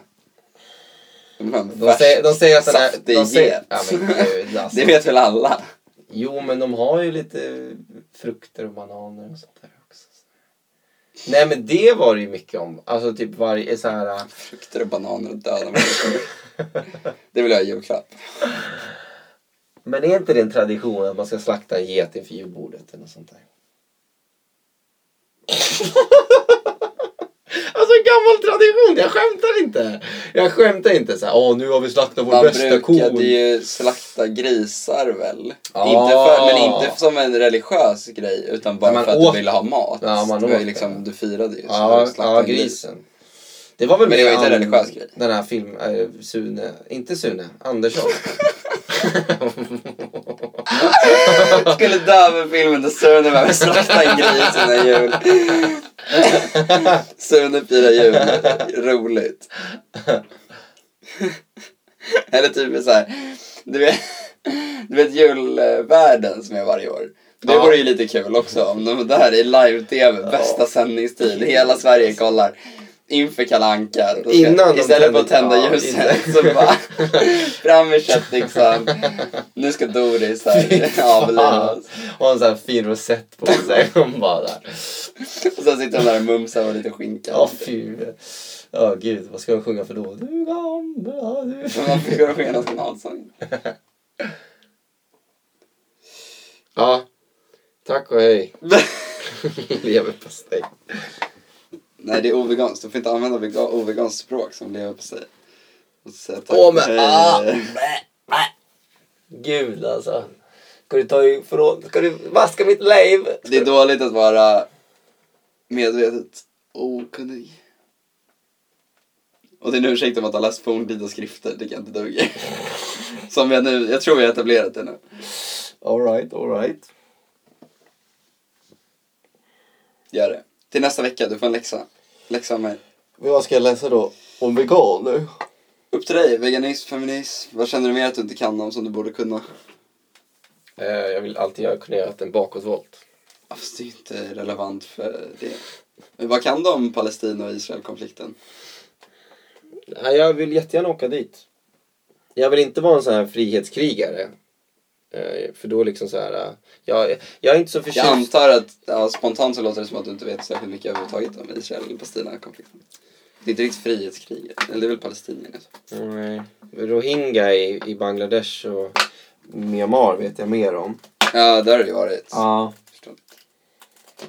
De vill ha en de, säger, de säger att den här... saftig De säger, get. ja, men gud, alltså. Det vet väl alla? Jo men de har ju lite frukter och bananer och sånt där också. Nej men det var det ju mycket om. Alltså typ varje så här... Frukter och bananer och döda människor. Det vill jag ha i julklapp. Men är inte det en tradition att man ska slakta en geting för julbordet eller något sånt där? alltså en gammal tradition, jag skämtar inte. Jag skämtar inte så här, åh nu har vi slaktat vår Man bästa ko. brukade ju slakta grisar väl? Ah. Inte för, men inte som en religiös grej utan bara Men man för att åt- du ville ha mat. Ja, man det var åt ju det. liksom, du firade ju. så Ja, du slaktade ja, en gris. grisen. Det var väl Men det mer var inte en an- religiös grej. Den här film, eh, Sune, inte Sune, Andersson. skulle dö med filmen där Sune behöver slakta en gris innan jul. Sune firar jul. Roligt. Eller typ så här. Du vet, du vet julvärlden som är varje år. Det Ja. vore ju lite kul också om de där i live-tv, bästa sändningstid, hela Sverige kollar. Inför Kalle Anka. Då ska- Innan de Istället för att tänder- tända ja, ljuset så bara fram med köttyxan. Nu ska Doris här Fan. avlivas. Och en sån här fin rosett på sig. Hon bara där. Och sen sitter hon där och mumsar och lite skinka. Ja, fy. Ja, gud. Vad ska de sjunga för då? Du gamla du. Men man fick gå och sjunga nationalsången. Ja. Tack och hej. Leverpastej. Nej, det är oveganskt. Du får inte använda vega- oveganskt språk som lever på sig. Och så säga tack Åh, och men hej. ah! Bä, bä. Gud, alltså. Ska du ta ifrån... Ska du vaska mitt liv? Det är dåligt att vara medvetet okunnig. Och det är en ursäkt om att ha läst forntida skrifter, det kan inte duga. Som jag nu, jag tror vi har etablerat det nu. Alright, alright. Gör det. Till nästa vecka, du får en läxa. Läxa av mig. Men vad ska jag läsa då? Om veganer? Upp till dig, veganism, feminism. Vad känner du mer att du inte kan om som du borde kunna? Eh, jag vill alltid göra, kunna göra en bakåtvolt. Ja, Fast det är ju inte relevant för det. Men vad kan du om Palestina och Israel-konflikten? Nej, jag vill jättegärna åka dit. Jag vill inte vara en sån här frihetskrigare. Eh, För då liksom så här... eh, Jag, jag är inte så förtjust. Jag antar att ja, spontant så låter det som att du inte vet särskilt mycket överhuvudtaget om Israel och Palestina-konflikten. Det är inte riktigt frihetskriget, eller det är väl palestinierna. så. Nej. Rohingya i, i Bangladesh och Myanmar vet jag mer om. Ja, där har det ju varit. Ja. Förstått.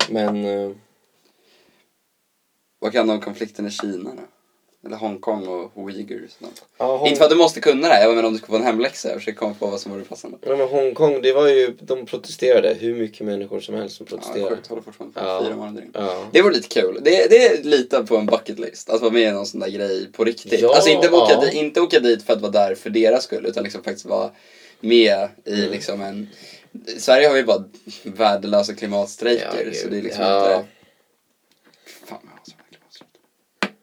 Men eh, Vad kan du om konflikten i Kina då? Eller Hongkong och uigurs? då? ja, Hong- Inte för att du måste kunna det här, jag menar om du ska få en hemläxa. Jag försöker komma på vad som vore passande. ja, men Hongkong, det var ju, de protesterade. Hur mycket människor som helst som Ja, det är protesterade. sjukt, håller fortfarande på Ja. fyra månader in. Ja. Det vore lite kul. Det, det är lite på en bucket list. Att vara med i någon sån där grej på riktigt. Ja, alltså inte åka, ja. di- inte åka dit för att vara där för deras skull. Utan liksom faktiskt vara med i Mm. liksom en... I Sverige har vi bara värdelösa klimatstrejker. Ja, så gud. det är liksom Ja. inte... Fan jag hatar klimatstrejker.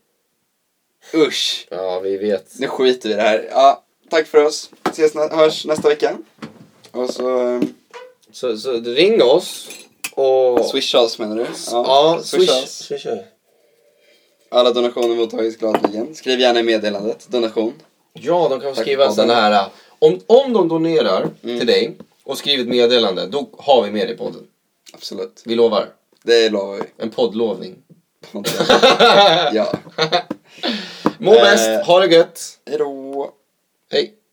Usch! ja, vi vet. Nu skiter vi i det här. Ja, tack för oss. Ses, nä- hörs nästa vecka. Och så... ehm, Så, så ring oss. Och... Swisha oss menar du? Ja, swisha swish. oss. swish. Alla donationer mottagits gladeligen. Skriv gärna i meddelandet, donation. Ja, de kan Tack, Mm. skriva Adam. sådana här. eh, Om, om de donerar till dig och skriver ett meddelande, då har vi med dig i podden. Absolut. Vi lovar. Det lovar vi. En poddlovning. podd. ja. Eh. Må bäst, ha det gött. Hejdå. Hej.